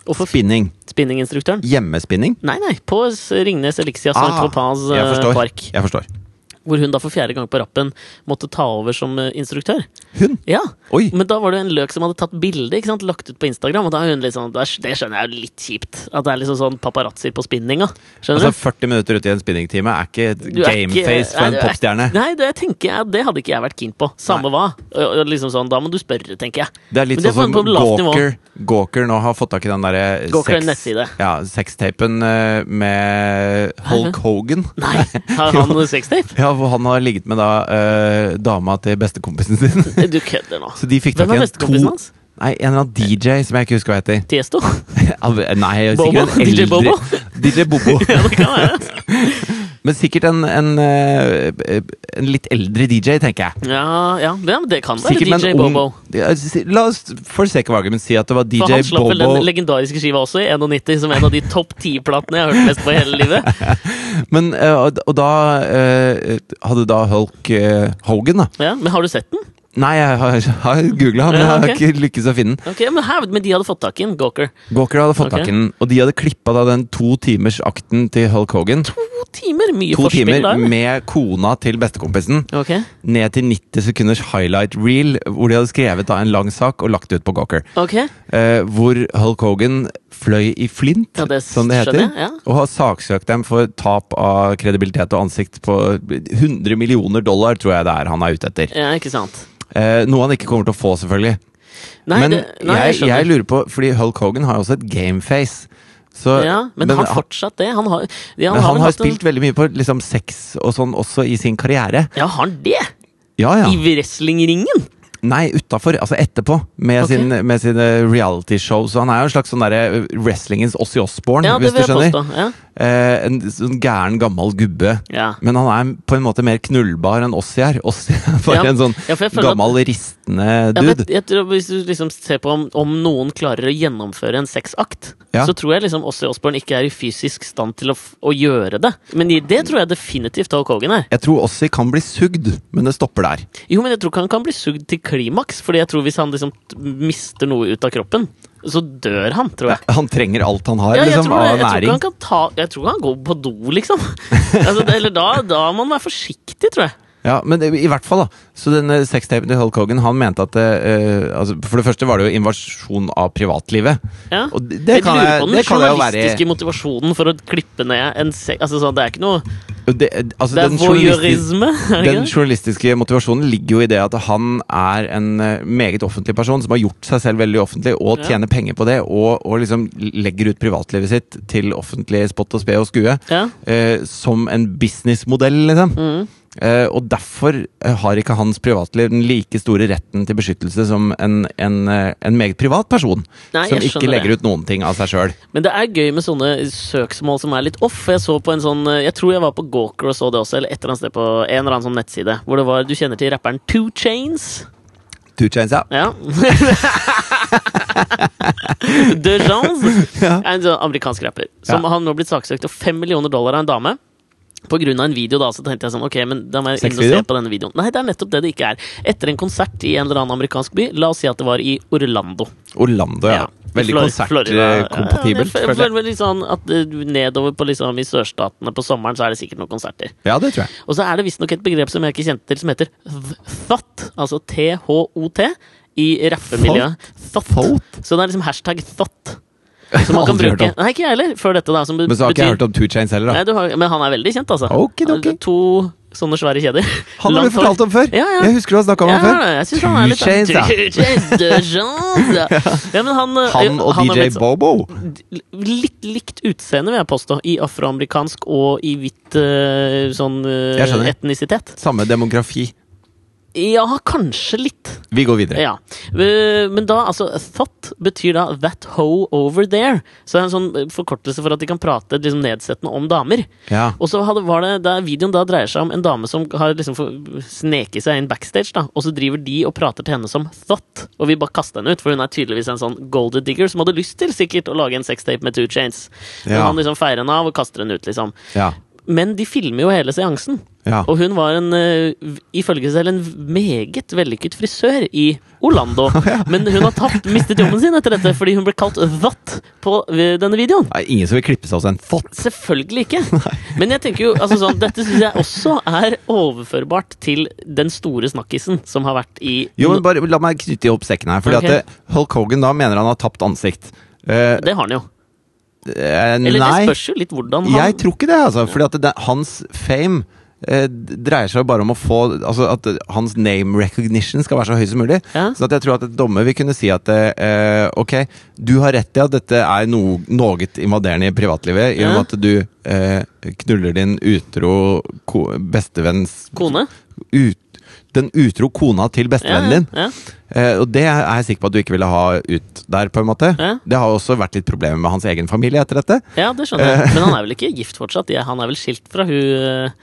Speaker 1: Og for
Speaker 2: Spinning.
Speaker 1: spinninginstruktøren.
Speaker 2: Hjemmespinning.
Speaker 1: Nei, nei, på S- Ringnes Elixia Saint
Speaker 2: Ah,
Speaker 1: Tropez
Speaker 2: jeg
Speaker 1: eh,
Speaker 2: forstår.
Speaker 1: Park.
Speaker 2: Jeg forstår.
Speaker 1: Hvor hun da for fjerde gang på rappen måtte ta over som eh, instruktør.
Speaker 2: Hun.
Speaker 1: Ja,
Speaker 2: Oi.
Speaker 1: Men da var det en løk som hadde tatt bilde ikke sant? lagt ut på Instagram. Og da er hun litt sånn, da sk- Det skjønner jeg er litt kjipt. At det er liksom sånn paparazzoer på spinninga. Skjønner
Speaker 2: Altså, 40 minutter ute i en spinningtime er ikke et
Speaker 1: Du er ikke-
Speaker 2: gameface for
Speaker 1: nei,
Speaker 2: en
Speaker 1: du er-
Speaker 2: popstjerne.
Speaker 1: du? Nei, det tenker jeg, det hadde ikke jeg vært keen på. Samme hva. Og- og Liksom sånn, da må du spørre, tenker jeg.
Speaker 2: Det er litt
Speaker 1: Men det er
Speaker 2: sånn
Speaker 1: på-
Speaker 2: som
Speaker 1: på lavt nivå.
Speaker 2: Gawker, Gawker nå har fått tak i den derre
Speaker 1: Gawker er en
Speaker 2: sex-
Speaker 1: nettside.
Speaker 2: Ja, sextapen eh, med Hulk Hogan.
Speaker 1: Nei, har han sextape?
Speaker 2: Ja, hvor han har ligget med da eh, dama til bestekompisen sin.
Speaker 1: Eh, Du kødder nå.
Speaker 2: Så de fikk
Speaker 1: Hvem
Speaker 2: tak
Speaker 1: er
Speaker 2: i en
Speaker 1: bestekompisen hans?
Speaker 2: Nei, en eller annen DJ som jeg ikke husker hva heter.
Speaker 1: Tiesto?
Speaker 2: Nei,
Speaker 1: Bobo?
Speaker 2: sikkert en
Speaker 1: DJ
Speaker 2: eldre
Speaker 1: Bobo?
Speaker 2: DJ Bobo.
Speaker 1: Ja, det kan være.
Speaker 2: Men sikkert en, en, eh, en litt eldre DJ, tenker jeg.
Speaker 1: Ja, ja, ja men det kan være
Speaker 2: Sikkert med
Speaker 1: DJ
Speaker 2: en ung-
Speaker 1: Bobo.
Speaker 2: Ja, si- La oss for sake av argument si at det var
Speaker 1: For han
Speaker 2: DJ
Speaker 1: slapp vel den
Speaker 2: Bobo.
Speaker 1: legendariske skiva også, i 91, som en av de topp ti-platene jeg har hørt mest på i hele livet.
Speaker 2: Men, eh, og, og da eh, hadde da Hulk eh, Hogan, da.
Speaker 1: Ja, men har du sett den?
Speaker 2: Nei, jeg har, har googla, men jeg
Speaker 1: Ja,
Speaker 2: har
Speaker 1: ok.
Speaker 2: ikke lykkes å finne den.
Speaker 1: Ok, Men, her, men de hadde fått tak i en Gawker.
Speaker 2: Gawker hadde fått
Speaker 1: Ok.
Speaker 2: tak i den, og de hadde klippa da den to timers akten til Hulk Hogan.
Speaker 1: To timer! Mye
Speaker 2: To
Speaker 1: forspill
Speaker 2: timer
Speaker 1: der. eller?
Speaker 2: med kona til bestekompisen.
Speaker 1: Ok,
Speaker 2: Ned til 90 sekunders highlight reel, hvor de hadde skrevet da en lang sak og lagt det ut på Gawker.
Speaker 1: ok.
Speaker 2: Eh, hvor Hulk Hogan fløy i flint,
Speaker 1: Ja, det
Speaker 2: som det heter.
Speaker 1: skjønner jeg, ja.
Speaker 2: Og har saksøkt dem for tap av kredibilitet og ansikt på 100 millioner dollar, tror jeg det er han er ute etter.
Speaker 1: Ja, ikke sant.
Speaker 2: Eh, noe han ikke kommer til å få, selvfølgelig.
Speaker 1: Nei,
Speaker 2: men
Speaker 1: det, nei jeg,
Speaker 2: jeg, jeg,
Speaker 1: skjønner.
Speaker 2: lurer på, fordi Hulk Hogan har jo også et gameface. Så,
Speaker 1: ja, men, har han fortsatt det? Han har, ja,
Speaker 2: men han
Speaker 1: vel
Speaker 2: har
Speaker 1: hatt en-
Speaker 2: spilt veldig mye på liksom, sex og sånn også i sin karriere.
Speaker 1: Ja, har han det?
Speaker 2: Ja, ja.
Speaker 1: I wrestlingringen?
Speaker 2: Nei, utafor. Altså etterpå. Med,
Speaker 1: Ok.
Speaker 2: sin, med sine realityshow. Så han er jo en slags sånn derre wrestlingens Ossi Osborn,
Speaker 1: Ja, det
Speaker 2: hvis du
Speaker 1: vil jeg
Speaker 2: skjønner.
Speaker 1: påstå. Ja.
Speaker 2: Eh, en sånn gæren, gammel gubbe.
Speaker 1: Ja.
Speaker 2: Men han er på en måte mer knullbar enn Ossi er. Ossi er bare
Speaker 1: Ja.
Speaker 2: en sånn
Speaker 1: Ja, for jeg føler at-
Speaker 2: gammel, ristende
Speaker 1: Ja, men
Speaker 2: dude.
Speaker 1: jeg tror Hvis du liksom ser på om, om noen klarer å gjennomføre en sexakt,
Speaker 2: Ja.
Speaker 1: så tror jeg liksom Ossi Osborn ikke er i fysisk stand til å, f å gjøre det. Men i det tror jeg definitivt Hulk Hogan er.
Speaker 2: Jeg tror Ossi kan bli sugd, men det stopper der.
Speaker 1: Jo, men jeg tror ikke han kan bli sugd til klimaks, Fordi jeg tror hvis han liksom t- mister noe ut av kroppen, så dør han, tror jeg.
Speaker 2: Han trenger alt han har
Speaker 1: Ja, jeg,
Speaker 2: liksom,
Speaker 1: tror det.
Speaker 2: av
Speaker 1: jeg, tror ikke
Speaker 2: næring.
Speaker 1: han kan ta, jeg tror ikke han går på do, liksom. altså, det, eller da, da må man være forsiktig, tror jeg.
Speaker 2: Ja, men det- i hvert fall da Så denne sextapen til Hulk Hogan Han mente at det, eh, altså, For det første var det jo invasjon av privatlivet
Speaker 1: Ja.
Speaker 2: Og det, det kan
Speaker 1: lurer
Speaker 2: jeg,
Speaker 1: på den
Speaker 2: det kan jeg jo være
Speaker 1: journalistiske motivasjonen for å klippe ned en se... Altså, sånn, det er ikke noe
Speaker 2: det, altså,
Speaker 1: Det er
Speaker 2: den, journalistiske,
Speaker 1: voyeurisme. er det
Speaker 2: den
Speaker 1: ikke det?
Speaker 2: journalistiske motivasjonen ligger jo i det at han er en eh, meget offentlig person Som har gjort seg selv veldig offentlig Og
Speaker 1: Ja.
Speaker 2: tjener penger på det Og, og liksom legger ut privatlivet sitt Til offentlig spott og spe og skue
Speaker 1: Ja.
Speaker 2: eh, Som en businessmodell liksom
Speaker 1: Mm.
Speaker 2: Eh, og derfor eh, har ikke hans privatliv den like store retten til beskyttelse som en, en, eh, en meget privat person.
Speaker 1: Nei,
Speaker 2: som
Speaker 1: jeg
Speaker 2: ikke
Speaker 1: skjønner
Speaker 2: legger ut noen ting av seg sjøl.
Speaker 1: Men det er gøy med sånne søksmål som er litt off. for Jeg så på en sånn, jeg tror jeg var på Gawker og så det også, eller et eller annet sted på en eller annen sånn nettside. Hvor det var, Du kjenner til rapperen Two Chains?
Speaker 2: Two chains, ja.
Speaker 1: Ja. De Jones er en sånn amerikansk rapper. Som
Speaker 2: Ja.
Speaker 1: har nå blitt saksøkt av fem millioner dollar av en dame. På grunn av en video, da, så tenkte jeg sånn Ok, men da må jeg inn og se
Speaker 2: Sexvideo?
Speaker 1: på denne videoen. Nei, det er nettopp det det ikke er. Etter en konsert i en eller annen amerikansk by, la oss si at det var i Orlando.
Speaker 2: Orlando, ja.
Speaker 1: I
Speaker 2: Veldig
Speaker 1: Flor- Florida. Ja,
Speaker 2: konsertkompatibelt.
Speaker 1: jeg
Speaker 2: føler jeg.
Speaker 1: føler meg litt sånn at eh, nedover på liksom i sørstatene på sommeren, så er det sikkert noen konserter.
Speaker 2: Ja, det tror jeg.
Speaker 1: Og så er det visstnok et begrep som jeg ikke kjente til, som heter th- thot. Altså T-H-O-T i rappemiljøet. Thot.
Speaker 2: Thot?
Speaker 1: Så det er liksom hashtag thot. Som man kan
Speaker 2: Aldri hørt
Speaker 1: bruke.
Speaker 2: om.
Speaker 1: Nei, ikke jeg heller, før dette, da. Som
Speaker 2: Men så har ikke jeg hørt om two chains heller,
Speaker 1: Nei,
Speaker 2: da.
Speaker 1: du har, men han er veldig kjent, altså.
Speaker 2: Okidoki.
Speaker 1: To sånne svære kjeder.
Speaker 2: Han har
Speaker 1: Langt
Speaker 2: vi fortalt om før!
Speaker 1: Ja, ja.
Speaker 2: Jeg husker du har snakka om
Speaker 1: ja,
Speaker 2: ham før.
Speaker 1: jeg synes han er litt
Speaker 2: Two chains, ja.
Speaker 1: Chains, de Jones, ja. ja, men han, eh,
Speaker 2: Han og
Speaker 1: han er
Speaker 2: DJ
Speaker 1: litt sånn-
Speaker 2: Bobo.
Speaker 1: Litt likt utseende, vil jeg påstå, i afroamerikansk og i hvitt eh, sånn eh,
Speaker 2: Jeg skjønner.
Speaker 1: etnisitet.
Speaker 2: Samme demografi.
Speaker 1: Ja, kanskje litt.
Speaker 2: Vi går videre.
Speaker 1: Ja. Eh, Men da, altså, thought betyr da that hoe over there. Så det er en sånn forkortelse for at de kan prate liksom, nedsettende om damer.
Speaker 2: Ja.
Speaker 1: Og så hadde, var det, da videoen da dreier seg om en dame som har liksom for- sneket seg inn backstage, da, og så driver de og prater til henne som thought, og vi bare kaster henne ut, for hun er tydeligvis en sånn golden digger som hadde lyst til sikkert å lage en sextape med two chains. Men
Speaker 2: Ja.
Speaker 1: han liksom feirer henne av og kaster henne ut, liksom.
Speaker 2: Ja.
Speaker 1: Men de filmer jo hele seansen.
Speaker 2: ja.
Speaker 1: Og hun var en, eh, v- ifølge seg selv en meget vellykket frisør i Orlando. Men hun har tapt, mistet jobben sin etter dette fordi hun ble kalt That på eh, denne videoen.
Speaker 2: Nei, ingen som vil klippe seg hos en fott.
Speaker 1: Selvfølgelig ikke. Men jeg tenker jo, altså sånn, dette syns jeg også er overførbart til den store snakkisen som har vært i
Speaker 2: Jo, men bare La meg knytte opp sekken her. Fordi
Speaker 1: Ok.
Speaker 2: at eh, Hulk Hogan da mener han har tapt ansikt. Eh,
Speaker 1: Det har han jo.
Speaker 2: eh, nei,
Speaker 1: Eller det spørs jo litt hvordan han
Speaker 2: jeg tror ikke det. altså Fordi at det, hans fame eh, d- dreier seg bare om å få Altså at eh, hans name recognition skal være så høy som mulig.
Speaker 1: Ja.
Speaker 2: Så at jeg tror at et dommer vil kunne si at eh, ok, du har rett i at dette er no, noe invaderende i privatlivet, i og
Speaker 1: Ja.
Speaker 2: med at du eh, knuller din utro ko, bestevenns
Speaker 1: Kone?
Speaker 2: ut, Den utro kona til bestevennen din.
Speaker 1: ja.
Speaker 2: Eh, og det er jeg sikker på at du ikke ville ha ut der, på en måte.
Speaker 1: Ja.
Speaker 2: Det har også vært litt problemer med hans egen familie etter dette.
Speaker 1: ja, det skjønner jeg. Men han er vel ikke gift fortsatt? Ja, Han er vel skilt fra hun eh,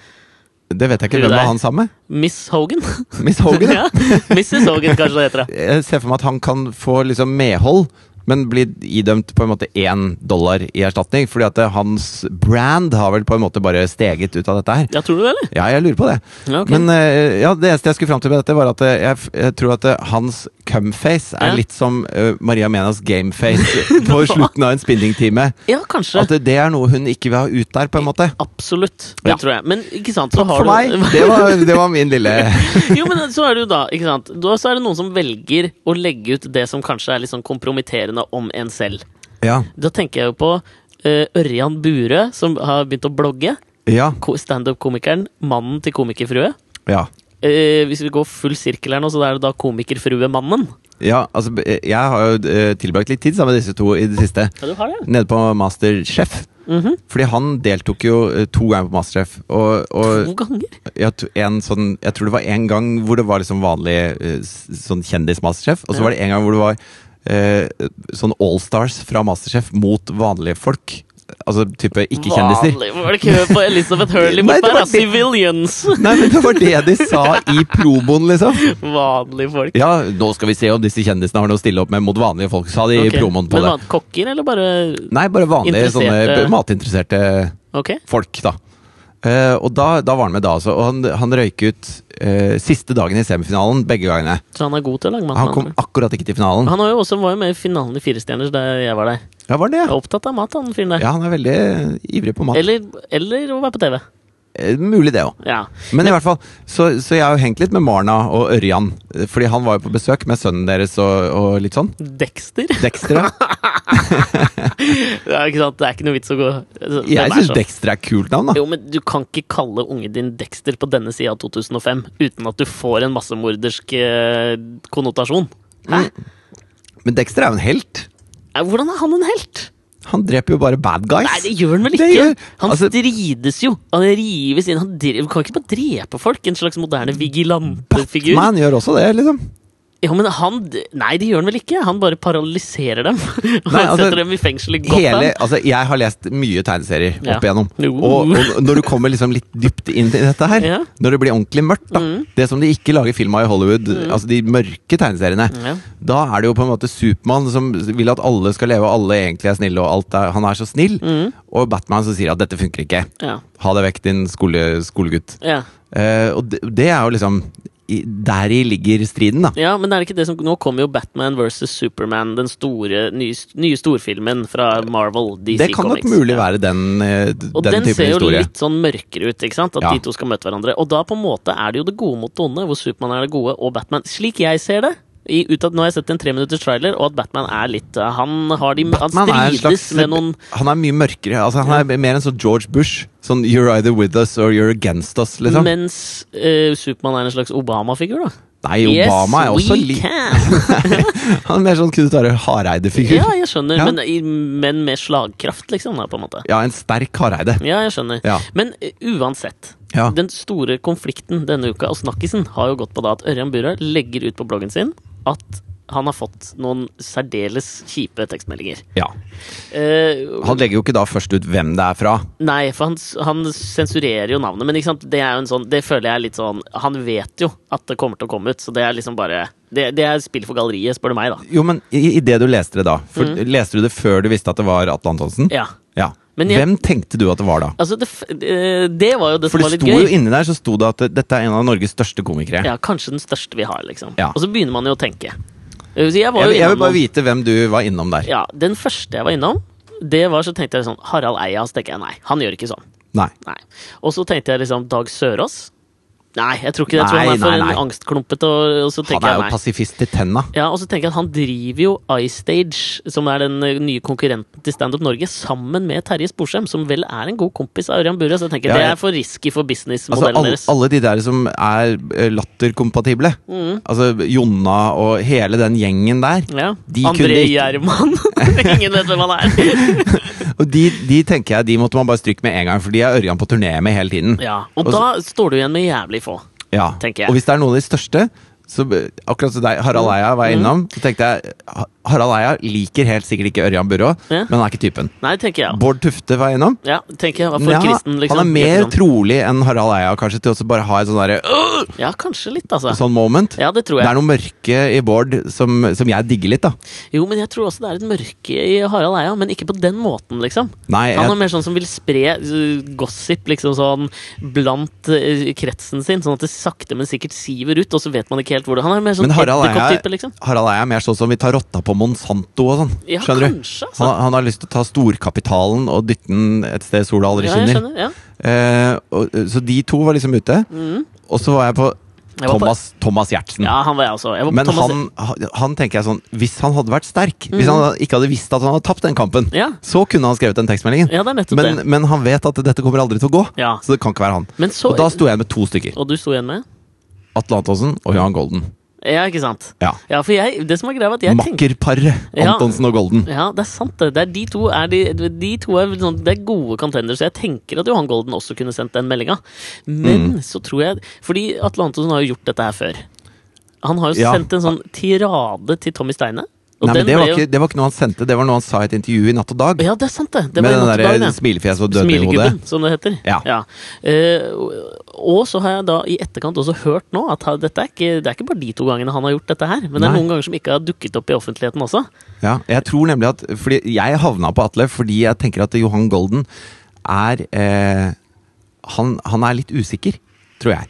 Speaker 2: Det vet jeg ikke
Speaker 1: Tror du det
Speaker 2: hvem var
Speaker 1: er-
Speaker 2: han sammen med.
Speaker 1: Miss Hogan?
Speaker 2: Miss Hogan. ja.
Speaker 1: ja, Mrs. Hogan, kanskje det heter. det.
Speaker 2: Jeg ser for meg at han kan få liksom medhold, men bli idømt på en måte én dollar i erstatning. Fordi at eh, hans brand har vel på en måte bare steget ut av dette her.
Speaker 1: Ja, tror du det, eller?
Speaker 2: Ja, jeg lurer på det.
Speaker 1: Ja, ok.
Speaker 2: Men eh, ja, det eneste jeg skulle fram til med dette, var at eh, jeg, f- jeg tror at eh, hans cumface er
Speaker 1: Ja.
Speaker 2: litt som eh, Maria Menas gameface på slutten av en spinningtime.
Speaker 1: ja, kanskje.
Speaker 2: At eh, det er noe hun ikke vil ha ut der, på en måte.
Speaker 1: Absolutt. Det
Speaker 2: Ja.
Speaker 1: tror jeg. Men ikke sant, så
Speaker 2: Takk
Speaker 1: har
Speaker 2: for meg!
Speaker 1: du
Speaker 2: Det var, det var min lille
Speaker 1: Jo, men så er det jo da, ikke sant Da så er det noen som velger å legge ut det som kanskje er litt sånn kompromitterende om en selv.
Speaker 2: Ja.
Speaker 1: Da tenker jeg jo på eh, Ørjan Burøe, som har begynt å blogge.
Speaker 2: Ja.
Speaker 1: Ko- Standup-komikeren. Mannen til komikerfrue.
Speaker 2: ja.
Speaker 1: Eh, hvis vi går full sirkel her nå, så er det da komikerfruemannen.
Speaker 2: Ja, altså, b- eh, jeg har jo eh, tilbrakt litt tid sammen med disse to i det siste.
Speaker 1: Ja, du har det.
Speaker 2: Nede på Masterchef.
Speaker 1: Mhm.
Speaker 2: Fordi han deltok jo eh, to ganger på Masterchef. Og,
Speaker 1: To
Speaker 2: og
Speaker 1: ganger.
Speaker 2: jeg, t- en sånn, jeg tror det var en gang hvor det var liksom vanlig eh, s- sånn kjendis-Masterchef, og så
Speaker 1: Ja.
Speaker 2: var det en gang hvor det var eh, sånn Allstars fra Masterchef mot vanlige folk. Altså type ikke-kjendiser.
Speaker 1: Vanlig. Var det kø på Elizabeth Hurley
Speaker 2: Nei,
Speaker 1: bort
Speaker 2: det
Speaker 1: der? da?
Speaker 2: var det-
Speaker 1: Civilians!
Speaker 2: Nei, men det var det de sa i promoen, liksom.
Speaker 1: Vanlige folk.
Speaker 2: Ja, nå skal vi se om disse kjendisene har noe å stille opp med mot vanlige folk, sa de
Speaker 1: Ok.
Speaker 2: i promoen på
Speaker 1: Men
Speaker 2: det.
Speaker 1: hva, kokker, eller bare
Speaker 2: Nei, bare vanlige sånne
Speaker 1: Interesserte-
Speaker 2: b- matinteresserte
Speaker 1: Ok.
Speaker 2: folk, da. Eh, og da, da var han med da, altså. Og han, han røyk ut eh, siste dagen i semifinalen begge gangene.
Speaker 1: Så han er god til å lage mat?
Speaker 2: Han kom akkurat ikke til finalen.
Speaker 1: Han var jo også var jo med i finalen i Fire stjerners der jeg var der.
Speaker 2: Ja, var det?
Speaker 1: Jeg er opptatt av mat, han fyren der.
Speaker 2: Ja, han er veldig ivrig på mat.
Speaker 1: Eller, eller å være på TV.
Speaker 2: Eh, Mulig det òg.
Speaker 1: Ja.
Speaker 2: Men i hvert fall, så, så jeg har jo hengt litt med Marna og Ørjan. eh, Fordi han var jo på besøk med sønnen deres og, og litt sånn.
Speaker 1: Dexter.
Speaker 2: Dexter. ja.
Speaker 1: Ja, ikke sant? Det er ikke noe vits å gå Hvem er
Speaker 2: Jeg syns
Speaker 1: så-
Speaker 2: Dexter er et kult navn, da.
Speaker 1: Jo, men Du kan ikke kalle ungen din Dexter på denne sida av 2005 uten at du får en massemordersk eh, konnotasjon.
Speaker 2: Mm.
Speaker 1: Hæ?
Speaker 2: Men Dexter er jo en helt.
Speaker 1: Eh, Hvordan er han en helt?
Speaker 2: Han dreper jo bare bad guys.
Speaker 1: Nei, det gjør han vel
Speaker 2: Det
Speaker 1: ikke?
Speaker 2: gjør-
Speaker 1: Han
Speaker 2: altså-
Speaker 1: strides jo. Han rives inn. Han dre- kan ikke bare drepe folk. En slags moderne vigilantefigur.
Speaker 2: Man gjør også det, liksom.
Speaker 1: Ja, men han Nei, det gjør han vel ikke? Han bare paralyserer dem. Og
Speaker 2: Nei, altså,
Speaker 1: setter dem i fengsel i Gotham.
Speaker 2: Hele, altså, jeg har lest mye tegneserier
Speaker 1: Ja.
Speaker 2: opp igjennom.
Speaker 1: Jo.
Speaker 2: Og, og når du kommer liksom litt dypt inn i dette her,
Speaker 1: Ja. Mm.
Speaker 2: når det blir ordentlig mørkt, da, det som de ikke lager film av i Hollywood, altså de mørke tegneseriene,
Speaker 1: Ja.
Speaker 2: da er det jo på en måte Supermann som vil at alle skal leve, og alle egentlig er snille, og alt er, han er så snill,
Speaker 1: Mm.
Speaker 2: og Batman som sier at dette funker ikke.
Speaker 1: Ja.
Speaker 2: Ha deg vekk, din skole, skolegutt.
Speaker 1: Ja.
Speaker 2: Eh, og det, det er jo liksom i, Deri ligger striden, da.
Speaker 1: ja, men det er ikke det som Nå kommer jo Batman versus Superman, den store, nye, nye storfilmen fra Marvel. DC
Speaker 2: Det kan nok
Speaker 1: Comics.
Speaker 2: mulig
Speaker 1: Ja.
Speaker 2: være den, eh, d-
Speaker 1: Og den,
Speaker 2: den typen
Speaker 1: ser jo
Speaker 2: historie.
Speaker 1: litt sånn mørkere ut, ikke sant? At
Speaker 2: Ja.
Speaker 1: de to skal møte hverandre. Og da på en måte er det jo det gode mot det onde, hvor Supermann er det gode, og Batman Slik jeg ser det. I, ut at, nå har jeg sett en treminutters trailer, og at Batman er litt eh, Han, har de, han
Speaker 2: Batman er en
Speaker 1: strides
Speaker 2: slags
Speaker 1: med noen
Speaker 2: Han er mye mørkere. Altså, han er mer en sånn George Bush. Sånn 'you're either with us or you're against us'.
Speaker 1: eh,
Speaker 2: Liksom.
Speaker 1: Mens uh, Supermann er en slags Obama-figur, da.
Speaker 2: Nei, Obama er også litt
Speaker 1: can!
Speaker 2: Han er mer sånn Knut Arild Hareide-figur.
Speaker 1: Ja, jeg skjønner,
Speaker 2: Ja.
Speaker 1: men, i- men med slagkraft, liksom, da, på en måte.
Speaker 2: Ja, en sterk Hareide.
Speaker 1: Ja, jeg skjønner.
Speaker 2: Ja.
Speaker 1: Men eh, uansett.
Speaker 2: Ja.
Speaker 1: Den store konflikten denne uka og snakkisen har jo gått på da at Ørjan Burøe legger ut på bloggen sin at han har fått noen særdeles kjipe tekstmeldinger.
Speaker 2: ja.
Speaker 1: Eh,
Speaker 2: Han legger jo ikke da først ut hvem det er fra.
Speaker 1: nei, for han, s- han sensurerer jo navnet, men ikke sant? det er jo en sånn Det føler jeg er litt sånn Han vet jo at det kommer til å komme ut, så det er liksom bare Det, det er spill for galleriet, spør du meg, da.
Speaker 2: Jo, men i, i det du leste det da, for, leste du det før du visste at det var Atle Antonsen?
Speaker 1: Mm. Ja.
Speaker 2: Ja.
Speaker 1: Men jeg-
Speaker 2: Hvem tenkte du at det var da?
Speaker 1: Altså, det, f- eh, det var jo det
Speaker 2: For
Speaker 1: som
Speaker 2: det
Speaker 1: var litt
Speaker 2: sto
Speaker 1: gøy.
Speaker 2: jo inni der så sto det at det- dette er en av Norges største komikere.
Speaker 1: Ja, kanskje den største vi har, liksom.
Speaker 2: Ja.
Speaker 1: Og så begynner man jo å tenke. Eh, Så jeg var
Speaker 2: Jeg,
Speaker 1: jo
Speaker 2: vil- jeg vil
Speaker 1: innom
Speaker 2: bare
Speaker 1: noen-
Speaker 2: vite hvem du var innom der.
Speaker 1: Ja, den første jeg var innom, det var så tenkte jeg sånn Harald Eia, så tenker jeg nei, han gjør ikke sånn.
Speaker 2: Nei.
Speaker 1: Nei. Og så tenkte jeg liksom Dag Sørås. Nei, jeg tror ikke det. Jeg tror
Speaker 2: Nei,
Speaker 1: han er for
Speaker 2: nei, nei.
Speaker 1: en angstklumpete. Og, og så
Speaker 2: Han
Speaker 1: tenker
Speaker 2: er
Speaker 1: jeg
Speaker 2: jo
Speaker 1: nei.
Speaker 2: pasifist til tenna.
Speaker 1: Ja, og så tenker jeg at han driver jo iStage, som er den eh, nye konkurrenten til Standup Norge, sammen med Terje Sporsem, som vel er en god kompis av Ørjan Burøe. Så jeg tenker
Speaker 2: Ja,
Speaker 1: det
Speaker 2: ja.
Speaker 1: er for risky for
Speaker 2: Altså,
Speaker 1: businessmodellen
Speaker 2: alle,
Speaker 1: deres.
Speaker 2: alle de der som er eh, latterkompatible. Altså Jonna og hele den gjengen der.
Speaker 1: Mm. Ja.
Speaker 2: De kunne
Speaker 1: André
Speaker 2: ikke-
Speaker 1: Gjerman. Ingen vet hvem han er.
Speaker 2: Og de, de tenker jeg, de måtte man bare stryke med en gang, for de er Ørjan på turné med hele tiden.
Speaker 1: Ja, og
Speaker 2: Og så-
Speaker 1: da står du igjen med jævlig få.
Speaker 2: Ja.
Speaker 1: tenker jeg. Mm.
Speaker 2: Og hvis det er noen av de største, så b- akkurat som deg, Harald Eia var jeg innom, så tenkte jeg Ha- Harald Eia liker helt sikkert ikke Ørjan Burå,
Speaker 1: Ja.
Speaker 2: men han er ikke typen.
Speaker 1: Nei, tenker jeg.
Speaker 2: Bård Tufte var jeg innom.
Speaker 1: Ja, tenker jeg. For
Speaker 2: Ja,
Speaker 1: kristen, liksom.
Speaker 2: han
Speaker 1: Gjør
Speaker 2: er mer
Speaker 1: ikke noe.
Speaker 2: trolig enn Harald Eia kanskje til å bare ha et sånn derre «Åh!»
Speaker 1: Ja, kanskje litt, altså.
Speaker 2: sånn moment.
Speaker 1: Ja, det tror
Speaker 2: Det er
Speaker 1: jeg.
Speaker 2: noe mørke i Bård som, som jeg digger litt, da.
Speaker 1: Jo, men jeg tror også det er et mørke i Harald Eia, men ikke på den måten, liksom.
Speaker 2: Nei,
Speaker 1: Han er
Speaker 2: jeg,
Speaker 1: mer sånn som vil spre uh, gossip liksom sånn blant uh, kretsen sin, sånn at det sakte, men sikkert siver ut, og så vet man ikke helt hvor det Han er mer sånn
Speaker 2: men Harald Eia,
Speaker 1: edderkopptype, liksom.
Speaker 2: Harald Eia er mer sånn som vi tar rotta på Monsanto og sånn.
Speaker 1: Ja,
Speaker 2: Skjønner du?
Speaker 1: kanskje, altså.
Speaker 2: Han, han har lyst til å ta storkapitalen og dytte den et sted sola aldri
Speaker 1: Ja, jeg
Speaker 2: skinner.
Speaker 1: skjønner. Ja.
Speaker 2: Eh, og, så de to var liksom ute. Og så var jeg på
Speaker 1: Mm. Jeg var på-
Speaker 2: Thomas, Thomas Gjertsen.
Speaker 1: ja, han var jeg også. Jeg var på
Speaker 2: Men
Speaker 1: Thomas Mm.
Speaker 2: han, han- han tenker jeg sånn Hvis han hadde vært sterk, hvis han ikke hadde visst at han hadde tapt den kampen,
Speaker 1: Ja.
Speaker 2: så kunne han skrevet den tekstmeldingen.
Speaker 1: Ja, det er nettopp
Speaker 2: men,
Speaker 1: det.
Speaker 2: men han vet at dette kommer aldri til å gå,
Speaker 1: Ja.
Speaker 2: så det kan ikke være han.
Speaker 1: Men så
Speaker 2: og da sto jeg med to stykker.
Speaker 1: Og du sto igjen med?
Speaker 2: Atle Antonsen og Johan Golden.
Speaker 1: Ja, ikke sant?
Speaker 2: Ja.
Speaker 1: Ja, for jeg, det som er greia, var at jeg tenkte
Speaker 2: Makkerparet
Speaker 1: Ja.
Speaker 2: Antonsen og Golden.
Speaker 1: Ja, det er sant. det. Det er de to er de, de to er vel sånn, det er gode contenders. Jeg tenker at Johan Golden også kunne sendt den meldinga.
Speaker 2: Mm.
Speaker 1: Men så tror jeg Fordi Atle Antonsen har jo gjort dette her før. Han har jo
Speaker 2: Ja.
Speaker 1: sendt en sånn tirade til Tommy Steine. og
Speaker 2: Nei,
Speaker 1: den
Speaker 2: men det var,
Speaker 1: ble jo-
Speaker 2: ikke, det var ikke noe han sendte, det var noe han sa i et intervju i Natt og Dag.
Speaker 1: Ja, det er sant, det. Det
Speaker 2: med
Speaker 1: var i natt
Speaker 2: den der eh,
Speaker 1: til dag, det.
Speaker 2: smilefjes og dødninghodet.
Speaker 1: Smilegubben, som det heter.
Speaker 2: Ja.
Speaker 1: Eh, og- og så har jeg da i etterkant også hørt nå at ha- dette er ikke, det er ikke bare de to gangene han har gjort dette her, men det er
Speaker 2: Nei.
Speaker 1: noen ganger som ikke har dukket opp i offentligheten også.
Speaker 2: Ja, jeg tror nemlig at Fordi jeg havna på Atle fordi jeg tenker at Johan Golden er eh, han, han er litt usikker, tror jeg.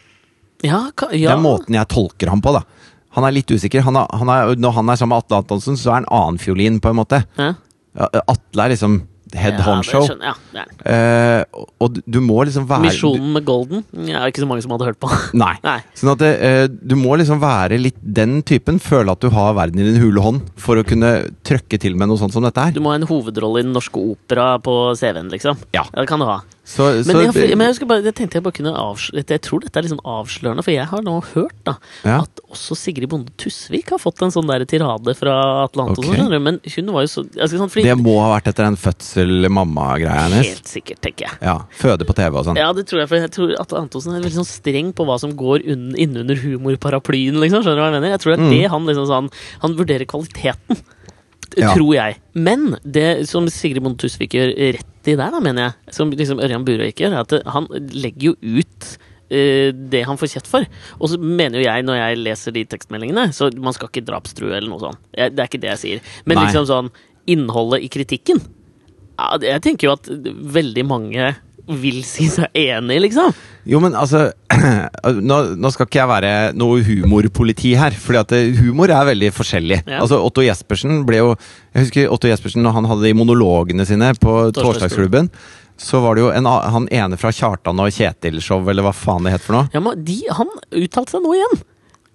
Speaker 1: Ja, ka,
Speaker 2: Det
Speaker 1: ja.
Speaker 2: er måten jeg tolker ham på, da. Han er litt usikker. Han er, han er, når han er sammen med Atle Antonsen, så er han annenfiolin, på en måte.
Speaker 1: ja.
Speaker 2: Ja, Atle er liksom head
Speaker 1: Ja,
Speaker 2: honcho.
Speaker 1: det skjønner jeg. Ja, det er det.
Speaker 2: Eh, og- og du- du må liksom være
Speaker 1: Misjonen med Golden Det er ikke så mange som hadde hørt på.
Speaker 2: du, Nei.
Speaker 1: Nei.
Speaker 2: Sånn at eh, du må liksom være litt den typen. Føle at du har verden i din hule hånd for å kunne trøkke til med noe sånt som dette her.
Speaker 1: Du må ha en hovedrolle i den norske opera på CV-en, liksom.
Speaker 2: Ja.
Speaker 1: det kan du ha.
Speaker 2: Så,
Speaker 1: Men,
Speaker 2: så,
Speaker 1: jeg, men jeg, husker bare, jeg tenkte jeg bare kunne avsløre Jeg tror dette er litt sånn avslørende, for jeg har nå hørt da
Speaker 2: Ja.
Speaker 1: at også Sigrid Bonde Tusvik har fått en sånn der tirade fra Atle Antonsen.
Speaker 2: Ok.
Speaker 1: skjønner du, Men hun var jo så jeg skal, sånn, fordi,
Speaker 2: Det må ha vært etter den fødsel-mamma-greia hennes.
Speaker 1: Helt sikkert, tenker jeg.
Speaker 2: Ja, Føde på TV og sånn.
Speaker 1: Ja, det tror jeg, for jeg tror Atle Antonsen er veldig sånn streng på hva som går unn- innunder humorparaplyen, liksom. Skjønner du hva jeg mener? Jeg tror det
Speaker 2: Mm.
Speaker 1: er det han liksom sånn Han vurderer kvaliteten, t-
Speaker 2: Ja.
Speaker 1: tror jeg. Men det som Sigrid Bonde Tusvik gjør rett i der, da, mener jeg, som liksom Ørjan Burøe ikke gjør, er at det- han legger jo ut eh, det han får kjeft for. Og så mener jo jeg, når jeg leser de tekstmeldingene, så man skal ikke drapstrue eller noe sånt. Jeg- Det er ikke det jeg sier. Men
Speaker 2: Nei.
Speaker 1: liksom sånn Innholdet i kritikken ja, det- jeg tenker jo at veldig mange vil si seg enig, liksom.
Speaker 2: Jo, men altså nå, nå skal ikke jeg være noe humorpoliti her, Fordi at det- humor er veldig forskjellig.
Speaker 1: Ja.
Speaker 2: Altså, Otto Jespersen ble jo Jeg husker Otto Jespersen når han hadde de monologene sine på
Speaker 1: Torsdagsklubben.
Speaker 2: Torsdagsklubben. Så var det jo en, a- han ene fra Kjartan og Kjetil-show, eller hva faen det het for noe.
Speaker 1: Ja, men de, han uttalte seg nå igjen.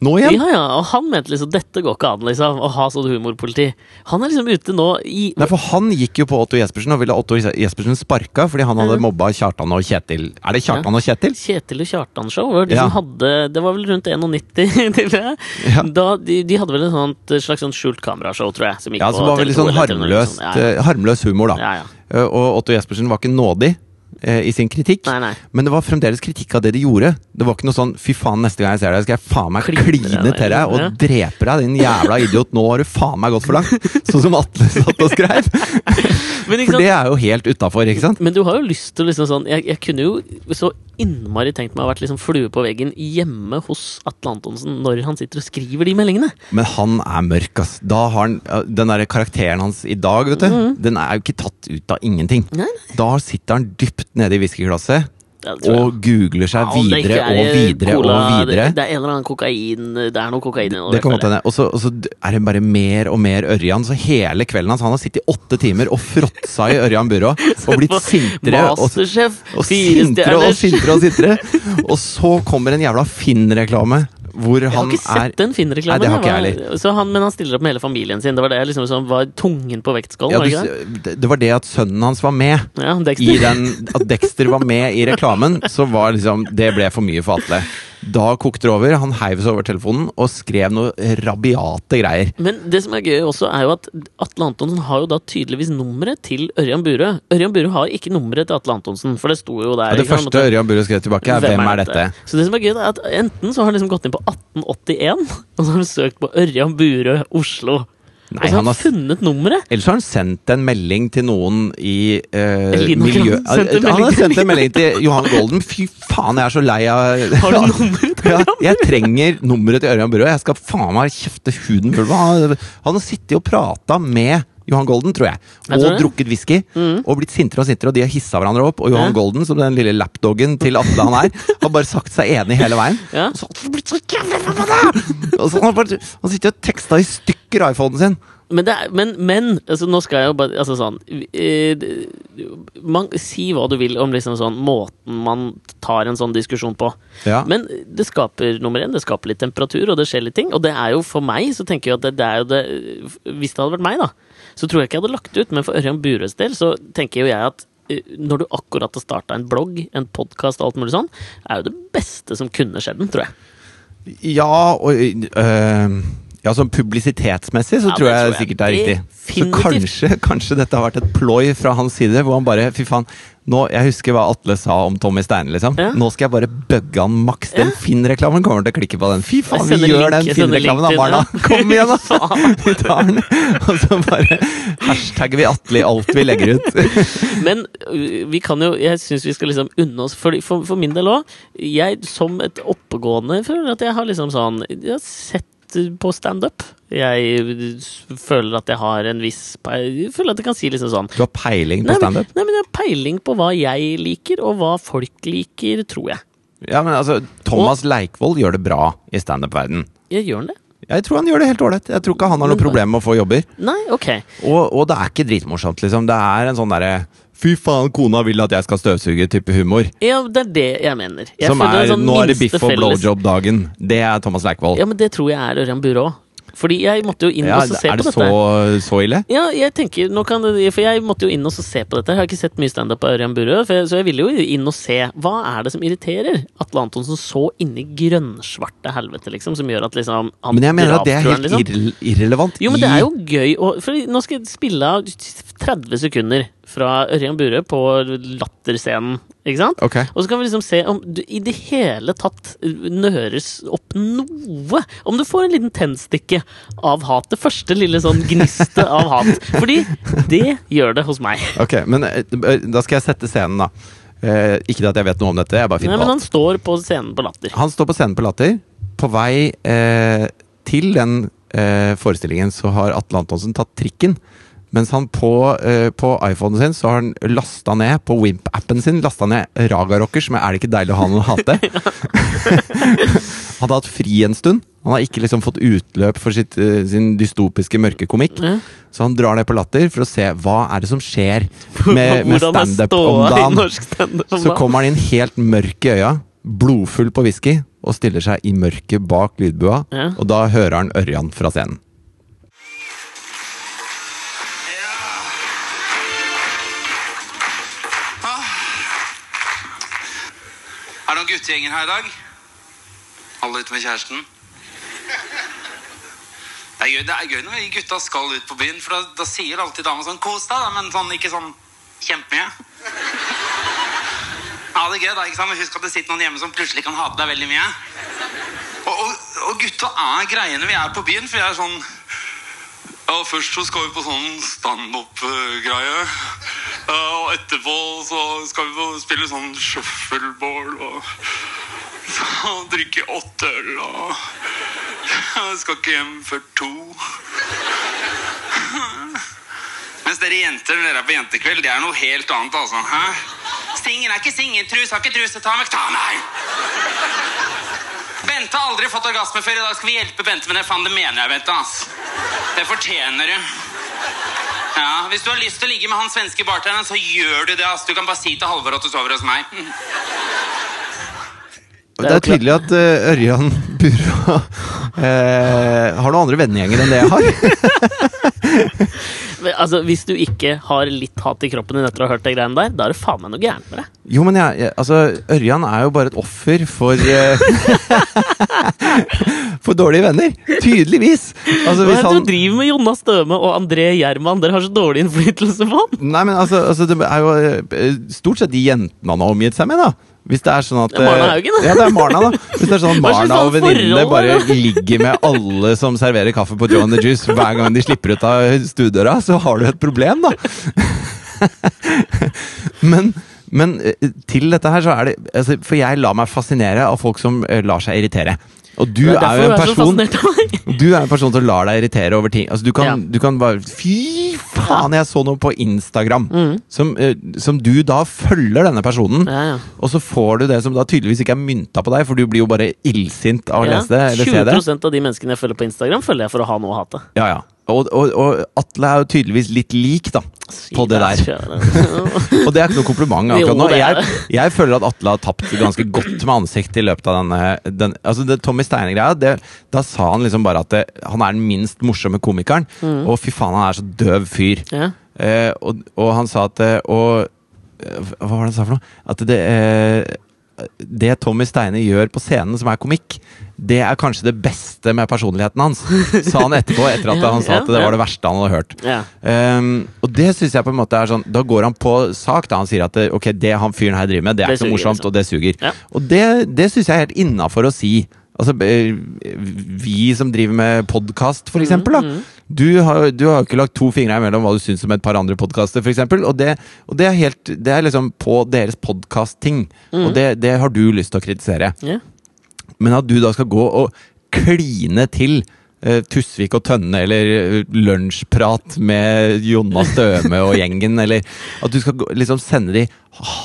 Speaker 2: Nå igjen?
Speaker 1: Ja, ja, og han mente liksom dette går ikke an, liksom, å ha sånn humorpoliti. Han er liksom ute nå i
Speaker 2: Nei, for Han gikk jo på Otto Jespersen og ville ha Otto Jespersen sparka fordi han
Speaker 1: Mm.
Speaker 2: hadde mobba Kjartan og Kjetil. Er det Kjartan og Kjetil?
Speaker 1: Kjetil og Kjartan-show. var De som
Speaker 2: Ja.
Speaker 1: hadde, det var vel rundt 91, til det.
Speaker 2: Ja.
Speaker 1: Da, de, de hadde vel et sånt, slags sånn skjult kamerashow, tror jeg. Som gikk
Speaker 2: Ja, som
Speaker 1: på
Speaker 2: var
Speaker 1: TV2
Speaker 2: veldig sånn
Speaker 1: eller TV1 eller noe
Speaker 2: harmløst,
Speaker 1: sånt. Ja, ja.
Speaker 2: eh, harmløs humor, da.
Speaker 1: Ja, ja.
Speaker 2: Eh, Og Otto Jespersen var ikke nådig eh, i sin kritikk.
Speaker 1: Nei, nei.
Speaker 2: Men det var fremdeles kritikk av det de gjorde. Det var ikke noe sånn 'fy faen, neste gang jeg ser deg, skal jeg faen meg
Speaker 1: Kline
Speaker 2: kline
Speaker 1: deg,
Speaker 2: til deg'
Speaker 1: ja.
Speaker 2: og drepe deg, din jævla idiot, nå har du faen meg gått for langt'. Sånn som Atle satt og skrev.
Speaker 1: Men, ikke
Speaker 2: For
Speaker 1: sant?
Speaker 2: det er jo helt utafor, ikke sant?
Speaker 1: Men du har jo lyst til å liksom sånn jeg, jeg kunne jo så innmari tenkt meg å vært liksom flue på veggen hjemme hos Atle Antonsen når han sitter og skriver de meldingene.
Speaker 2: Men han er mørk, ass. Da har han, ja, den der karakteren hans i dag, vet du, den er jo ikke tatt ut av ingenting.
Speaker 1: Mhm. Nei,
Speaker 2: Da sitter han dypt nede i whiskyglasset
Speaker 1: Ja, det tror jeg.
Speaker 2: og googler seg
Speaker 1: Ja, om det
Speaker 2: videre
Speaker 1: ikke er, eh,
Speaker 2: og videre
Speaker 1: cola,
Speaker 2: og videre.
Speaker 1: Det, det er en eller annen kokain Det er noe kokain i
Speaker 2: Det kan
Speaker 1: føler
Speaker 2: godt
Speaker 1: jeg.
Speaker 2: hende. Og så og så er det bare mer og mer Ørjan. Så hele kvelden hans Han har sittet i åtte timer og fråtsa i Ørjan Burå og blitt sintere. Og,
Speaker 1: Masterchef,
Speaker 2: og
Speaker 1: fire
Speaker 2: sintere og
Speaker 1: stjerners.
Speaker 2: sintere og sintere. Og så kommer en jævla Finn-reklame hvor
Speaker 1: Jeg har
Speaker 2: han
Speaker 1: ikke sett
Speaker 2: er
Speaker 1: den Finn-reklamen.
Speaker 2: Nei, det har ikke jeg
Speaker 1: det var- Så han- Men han stiller opp med hele familien sin. Det var det jeg liksom som var tungen på vektskålen.
Speaker 2: ja,
Speaker 1: var det ikke det?
Speaker 2: du, det- Det var det at sønnen hans var med.
Speaker 1: Ja,
Speaker 2: I
Speaker 1: Dexter.
Speaker 2: den, at Dexter var med i reklamen, så var liksom Det ble for mye for Atle. Da kokte det over. Han heiv seg over telefonen og skrev noe rabiate greier.
Speaker 1: Men det som er gøy også, er jo at Atle Antonsen har jo da tydeligvis nummeret til Ørjan Burøe. Ørjan Burøe har ikke nummeret til Atle Antonsen, for det sto jo der.
Speaker 2: Og det
Speaker 1: ikke sant?
Speaker 2: første Ørjan Burøe skrev tilbake, er 'Hvem er dette?'
Speaker 1: Så det som er gøy, det er at enten så har han liksom gått inn på 1881, og så har han søkt på Ørjan Burøe Oslo. og så
Speaker 2: Nei,
Speaker 1: har
Speaker 2: han
Speaker 1: han
Speaker 2: har
Speaker 1: funnet nummeret!
Speaker 2: Ellers har han sendt en melding til noen i eh,
Speaker 1: Elina
Speaker 2: miljø...
Speaker 1: Gran sendte en
Speaker 2: Han har
Speaker 1: melding til
Speaker 2: sendt en melding til Johan Golden. Fy faen, jeg er så lei av
Speaker 1: Har du nummeret til
Speaker 2: Ja,
Speaker 1: Ørjan?
Speaker 2: jeg trenger nummeret til Ørjan Burøe. Jeg skal faen meg kjefte huden full. Han, han har sittet og prata med Johan Golden, tror jeg, og
Speaker 1: Jeg tror det. Mm.
Speaker 2: drukket whisky. Og blitt sintere og sintere, og de har hissa hverandre opp. Og Johan
Speaker 1: Ja.
Speaker 2: Golden, som den lille lapdoggen til Atle han er, har bare sagt seg enig hele veien.
Speaker 1: Ja.
Speaker 2: Og så har han blitt så jævlig forbanna! Og så har han, bare, han sitter og teksta i stykker iPhonen sin.
Speaker 1: Men, det er, men, men altså, nå skal jeg jo bare altså, sånn, eh, det- man, Si hva du vil om liksom, sånn, måten man tar en sånn diskusjon på.
Speaker 2: Ja.
Speaker 1: Men det skaper nummer én, det skaper litt temperatur, og det skjer litt ting. Og det er jo for meg, så tenker jeg at det, det er jo det Hvis det hadde vært meg, da, så tror jeg ikke jeg hadde lagt det ut. Men for Ørjan Burøes del så tenker jo jeg at eh, når du akkurat har starta en blogg, en podkast og alt mulig sånn, er jo det beste som kunne skjedd den, tror jeg.
Speaker 2: Ja, og øh, Ja, sånn publisitetsmessig så
Speaker 1: Ja,
Speaker 2: tror
Speaker 1: det
Speaker 2: jeg
Speaker 1: tror jeg
Speaker 2: sikkert det er riktig. Så
Speaker 1: definitivt.
Speaker 2: kanskje, kanskje dette har vært et ploy fra hans side, hvor han bare Fy faen, nå, jeg husker hva Atle sa om Tommy Steine, liksom.
Speaker 1: Ja.
Speaker 2: Nå skal jeg bare bugge han maks. Den Finn-reklamen kommer til å klikke på den. Fy faen,
Speaker 1: Jeg sender
Speaker 2: vi gjør
Speaker 1: link,
Speaker 2: den
Speaker 1: jeg sender
Speaker 2: Finn-reklamen da,
Speaker 1: link til
Speaker 2: barna!
Speaker 1: den, ja.
Speaker 2: Kom igjen, da!
Speaker 1: Faen.
Speaker 2: Vi tar den! Og så bare hashtagger vi Atle i alt vi legger ut.
Speaker 1: Men øh, vi kan jo Jeg syns vi skal liksom unne oss For, for, for min del òg. Jeg som et oppegående føler at jeg har liksom sånn Jeg har sett øh, på standup. Jeg øh, s- føler at jeg har en viss pe- Jeg føler at jeg kan si liksom sånn
Speaker 2: Du har peiling
Speaker 1: Nei,
Speaker 2: på
Speaker 1: men,
Speaker 2: standup?
Speaker 1: nei, men jeg har peiling på hva jeg liker, og hva folk liker, tror jeg.
Speaker 2: Ja, men altså, Thomas Leikvoll gjør det bra i standup-verden.
Speaker 1: Jeg gjør det.
Speaker 2: Jeg tror han gjør det helt ålreit. Jeg tror ikke han har noe
Speaker 1: Men-
Speaker 2: problem med å få jobber.
Speaker 1: Nei, ok.
Speaker 2: Og, og det er ikke dritmorsomt, liksom. Det er en sånn derre Fy faen, kona vil at jeg skal støvsuge-type humor.
Speaker 1: Ja, det er det jeg mener. Jeg
Speaker 2: som
Speaker 1: føler
Speaker 2: er
Speaker 1: en sånn
Speaker 2: Nå er det
Speaker 1: minste
Speaker 2: biff og
Speaker 1: felles-
Speaker 2: blowjob-dagen. Det er Thomas Leikvoll.
Speaker 1: Ja, men det tror jeg er Ørjan Burå. Fordi jeg måtte jo inn
Speaker 2: Ja,
Speaker 1: og så se
Speaker 2: er
Speaker 1: på
Speaker 2: det
Speaker 1: dette.
Speaker 2: så, så ille?
Speaker 1: Ja, jeg tenker, nå kan, for jeg måtte jo inn og så se på dette. Jeg har ikke sett mye standup av Ørjan Burøe, for jeg- så jeg ville jo inn og se. Hva er det som irriterer Atle Antonsen så inni grønnsvarte helvete, liksom, som gjør at liksom han
Speaker 2: Men jeg mener at det er
Speaker 1: drapstruer han,
Speaker 2: helt irre- irrelevant.
Speaker 1: Jo, men
Speaker 2: i-
Speaker 1: det er jo gøy å For nå skal jeg spille av 30 sekunder fra Ørjan Burøe på Latterscenen, ikke sant?
Speaker 2: Ok.
Speaker 1: Og så kan vi liksom se om du i det hele tatt eh, nøres opp noe. Om du får en liten tennstikke av hat. Det første lille sånn gniste av hat. Fordi det gjør det hos meg.
Speaker 2: ok, men eh, da skal jeg sette scenen, da. Eh, ikke at jeg vet noe om dette, jeg bare
Speaker 1: Nei,
Speaker 2: finner
Speaker 1: men
Speaker 2: på
Speaker 1: han står på scenen på Latter.
Speaker 2: Han står på scenen på Latter. På vei eh, til den eh, forestillingen så har Atle Antonsen tatt trikken. Mens han på, eh, på iPhonen sin så har han lasta ned på Wimp-appen sin lasta ned Ragarocker, som er er det ikke deilig å ha noen å hate? Hadde hatt fri en stund. Han har ikke liksom fått utløp for sitt, eh, sin dystopiske mørkekomikk.
Speaker 1: Ja.
Speaker 2: Så han drar ned på Latter for å se hva er det som skjer med, med
Speaker 1: Hvordan er
Speaker 2: standup
Speaker 1: ståa
Speaker 2: om
Speaker 1: i
Speaker 2: dagen.
Speaker 1: norsk standup om
Speaker 2: Så
Speaker 1: dagen?
Speaker 2: kommer han inn helt mørk i øya, blodfull på whisky, og stiller seg i mørket bak lydbua,
Speaker 1: Ja.
Speaker 2: og da hører han Ørjan fra scenen.
Speaker 3: Er det noen guttegjenger her i dag? Alle ute med kjæresten? Det er gøy, det er gøy når vi gutta skal ut på byen, for da, da sier alltid dama sånn 'kos deg', da, men sånn, ikke sånn kjempemye. Ja, det er gøy, da, ikke sant? Men husk at det sitter noen hjemme som plutselig kan hate deg veldig mye. Og, og, og gutta er greie når vi er på byen, for vi er sånn ja, først så skal vi på sånn standup-greie. Ja, og etterpå så skal vi på- spille sånn shuffleboard og så drikke åtte øl og Jeg skal ikke hjem før to. Mens dere jenter når dere er på jentekveld, det er noe helt annet, altså. Hæ? Singel er ikke singel, trus har ikke truse, ta meg, ta meg! Bente har aldri fått orgasme før. I dag skal vi hjelpe Bente med det. Faen, det mener jeg, Bente. ass. Det fortjener du. Ja, Hvis du har lyst til å ligge med han svenske bartenderen, så gjør du det. ass. Du kan bare si til Halvor at du sover hos meg.
Speaker 2: Det
Speaker 1: er jo
Speaker 2: er tydelig at eh, Ørjan Burra eh, har noen andre vennegjenger enn det jeg har.
Speaker 1: Men, Altså, Hvis du ikke har litt hat i kroppen din etter å ha hørt de greiene der, da er det faen meg noe gærent med deg.
Speaker 2: Jo, men jeg, jeg Altså, Ørjan er jo bare et offer for eh, For dårlige venner. Tydeligvis. Altså,
Speaker 1: Hva er
Speaker 2: hvis
Speaker 1: det
Speaker 2: han
Speaker 1: du driver med Jonas Støme og André Gjerman? Dere har så dårlig innflytelse på han!
Speaker 2: Nei, men altså, altså Det er jo eh, stort sett de jentene han har omgitt seg med, da. Hvis det er sånn at
Speaker 1: Det er Marna
Speaker 2: eh,
Speaker 1: Haugen, da.
Speaker 2: Ja, det er Marna, da. Hvis det er sånn at
Speaker 1: Hva slags
Speaker 2: Marna og
Speaker 1: sånn
Speaker 2: venninnene
Speaker 1: forhold,
Speaker 2: bare
Speaker 1: da?
Speaker 2: ligger med alle som serverer kaffe på Joe and the Juice hver gang de slipper ut av stuedøra, så har du et problem, da. Men men eh, til dette her så er det altså, For jeg lar meg fascinere av folk som eh, lar seg irritere. Og du
Speaker 1: Det
Speaker 2: er,
Speaker 1: er derfor
Speaker 2: jo en
Speaker 1: du er så fascinert
Speaker 2: person
Speaker 1: av meg.
Speaker 2: du er en person som lar deg irritere over ting. Altså, du, kan,
Speaker 1: Ja.
Speaker 2: du kan bare Fy faen, jeg så noe på Instagram! Som, eh, som du da følger denne personen,
Speaker 1: Mm. Ja, ja.
Speaker 2: og så får du det som da tydeligvis ikke er mynta på deg, for du blir jo bare illsint av å
Speaker 1: Ja,
Speaker 2: lese det. Eller se det.
Speaker 1: 20 av de menneskene jeg følger på Instagram, følger jeg for å ha noe å hate.
Speaker 2: Ja, ja. Og, og, og Atle er jo tydeligvis litt lik, da, på det der. Og det er ikke noe kompliment
Speaker 1: Jo,
Speaker 2: akkurat nå.
Speaker 1: det er
Speaker 2: Jeg, jeg føler at Atle har tapt ganske godt med ansikt i løpet av denne den, Altså det Tommy Steine-greia, det- da sa han liksom bare at det, han er den minst morsomme komikeren. Og fy faen, han er så døv fyr.
Speaker 1: Mm. Ja.
Speaker 2: Eh, og, og han sa at eh, Og eh, hva var det han sa for noe? At det eh, Det Tommy Steine gjør på scenen, som er komikk, det er kanskje det beste med personligheten hans, sa han etterpå, etter at
Speaker 1: Ja,
Speaker 2: han sa
Speaker 1: ja,
Speaker 2: at det
Speaker 1: ja.
Speaker 2: var det verste han hadde hørt.
Speaker 1: Ja.
Speaker 2: Ehm, og det syns jeg på en måte er sånn Da går han på sak. da Han sier at det, ok, det han fyren her driver med, det er
Speaker 1: Det
Speaker 2: ikke så
Speaker 1: suger,
Speaker 2: morsomt,
Speaker 1: liksom.
Speaker 2: og det suger.
Speaker 1: Ja.
Speaker 2: Og det, det syns jeg er helt innafor å si. Altså, eh, vi som driver med podkast,
Speaker 1: Mhm,
Speaker 2: for eksempel. Da. Du, har, du har jo ikke lagt to fingre imellom hva du syns om et par andre podkaster, f.eks. Og, det, og det, er helt, det er liksom på deres podkast-ting.
Speaker 1: Mhm.
Speaker 2: Og det, det har du lyst til å kritisere.
Speaker 1: Ja.
Speaker 2: Men at du da skal gå og kline til eh, Tusvik og Tønne, eller eh, lunsjprat med Jonna Støme og gjengen, eller at du skal gå, liksom sende de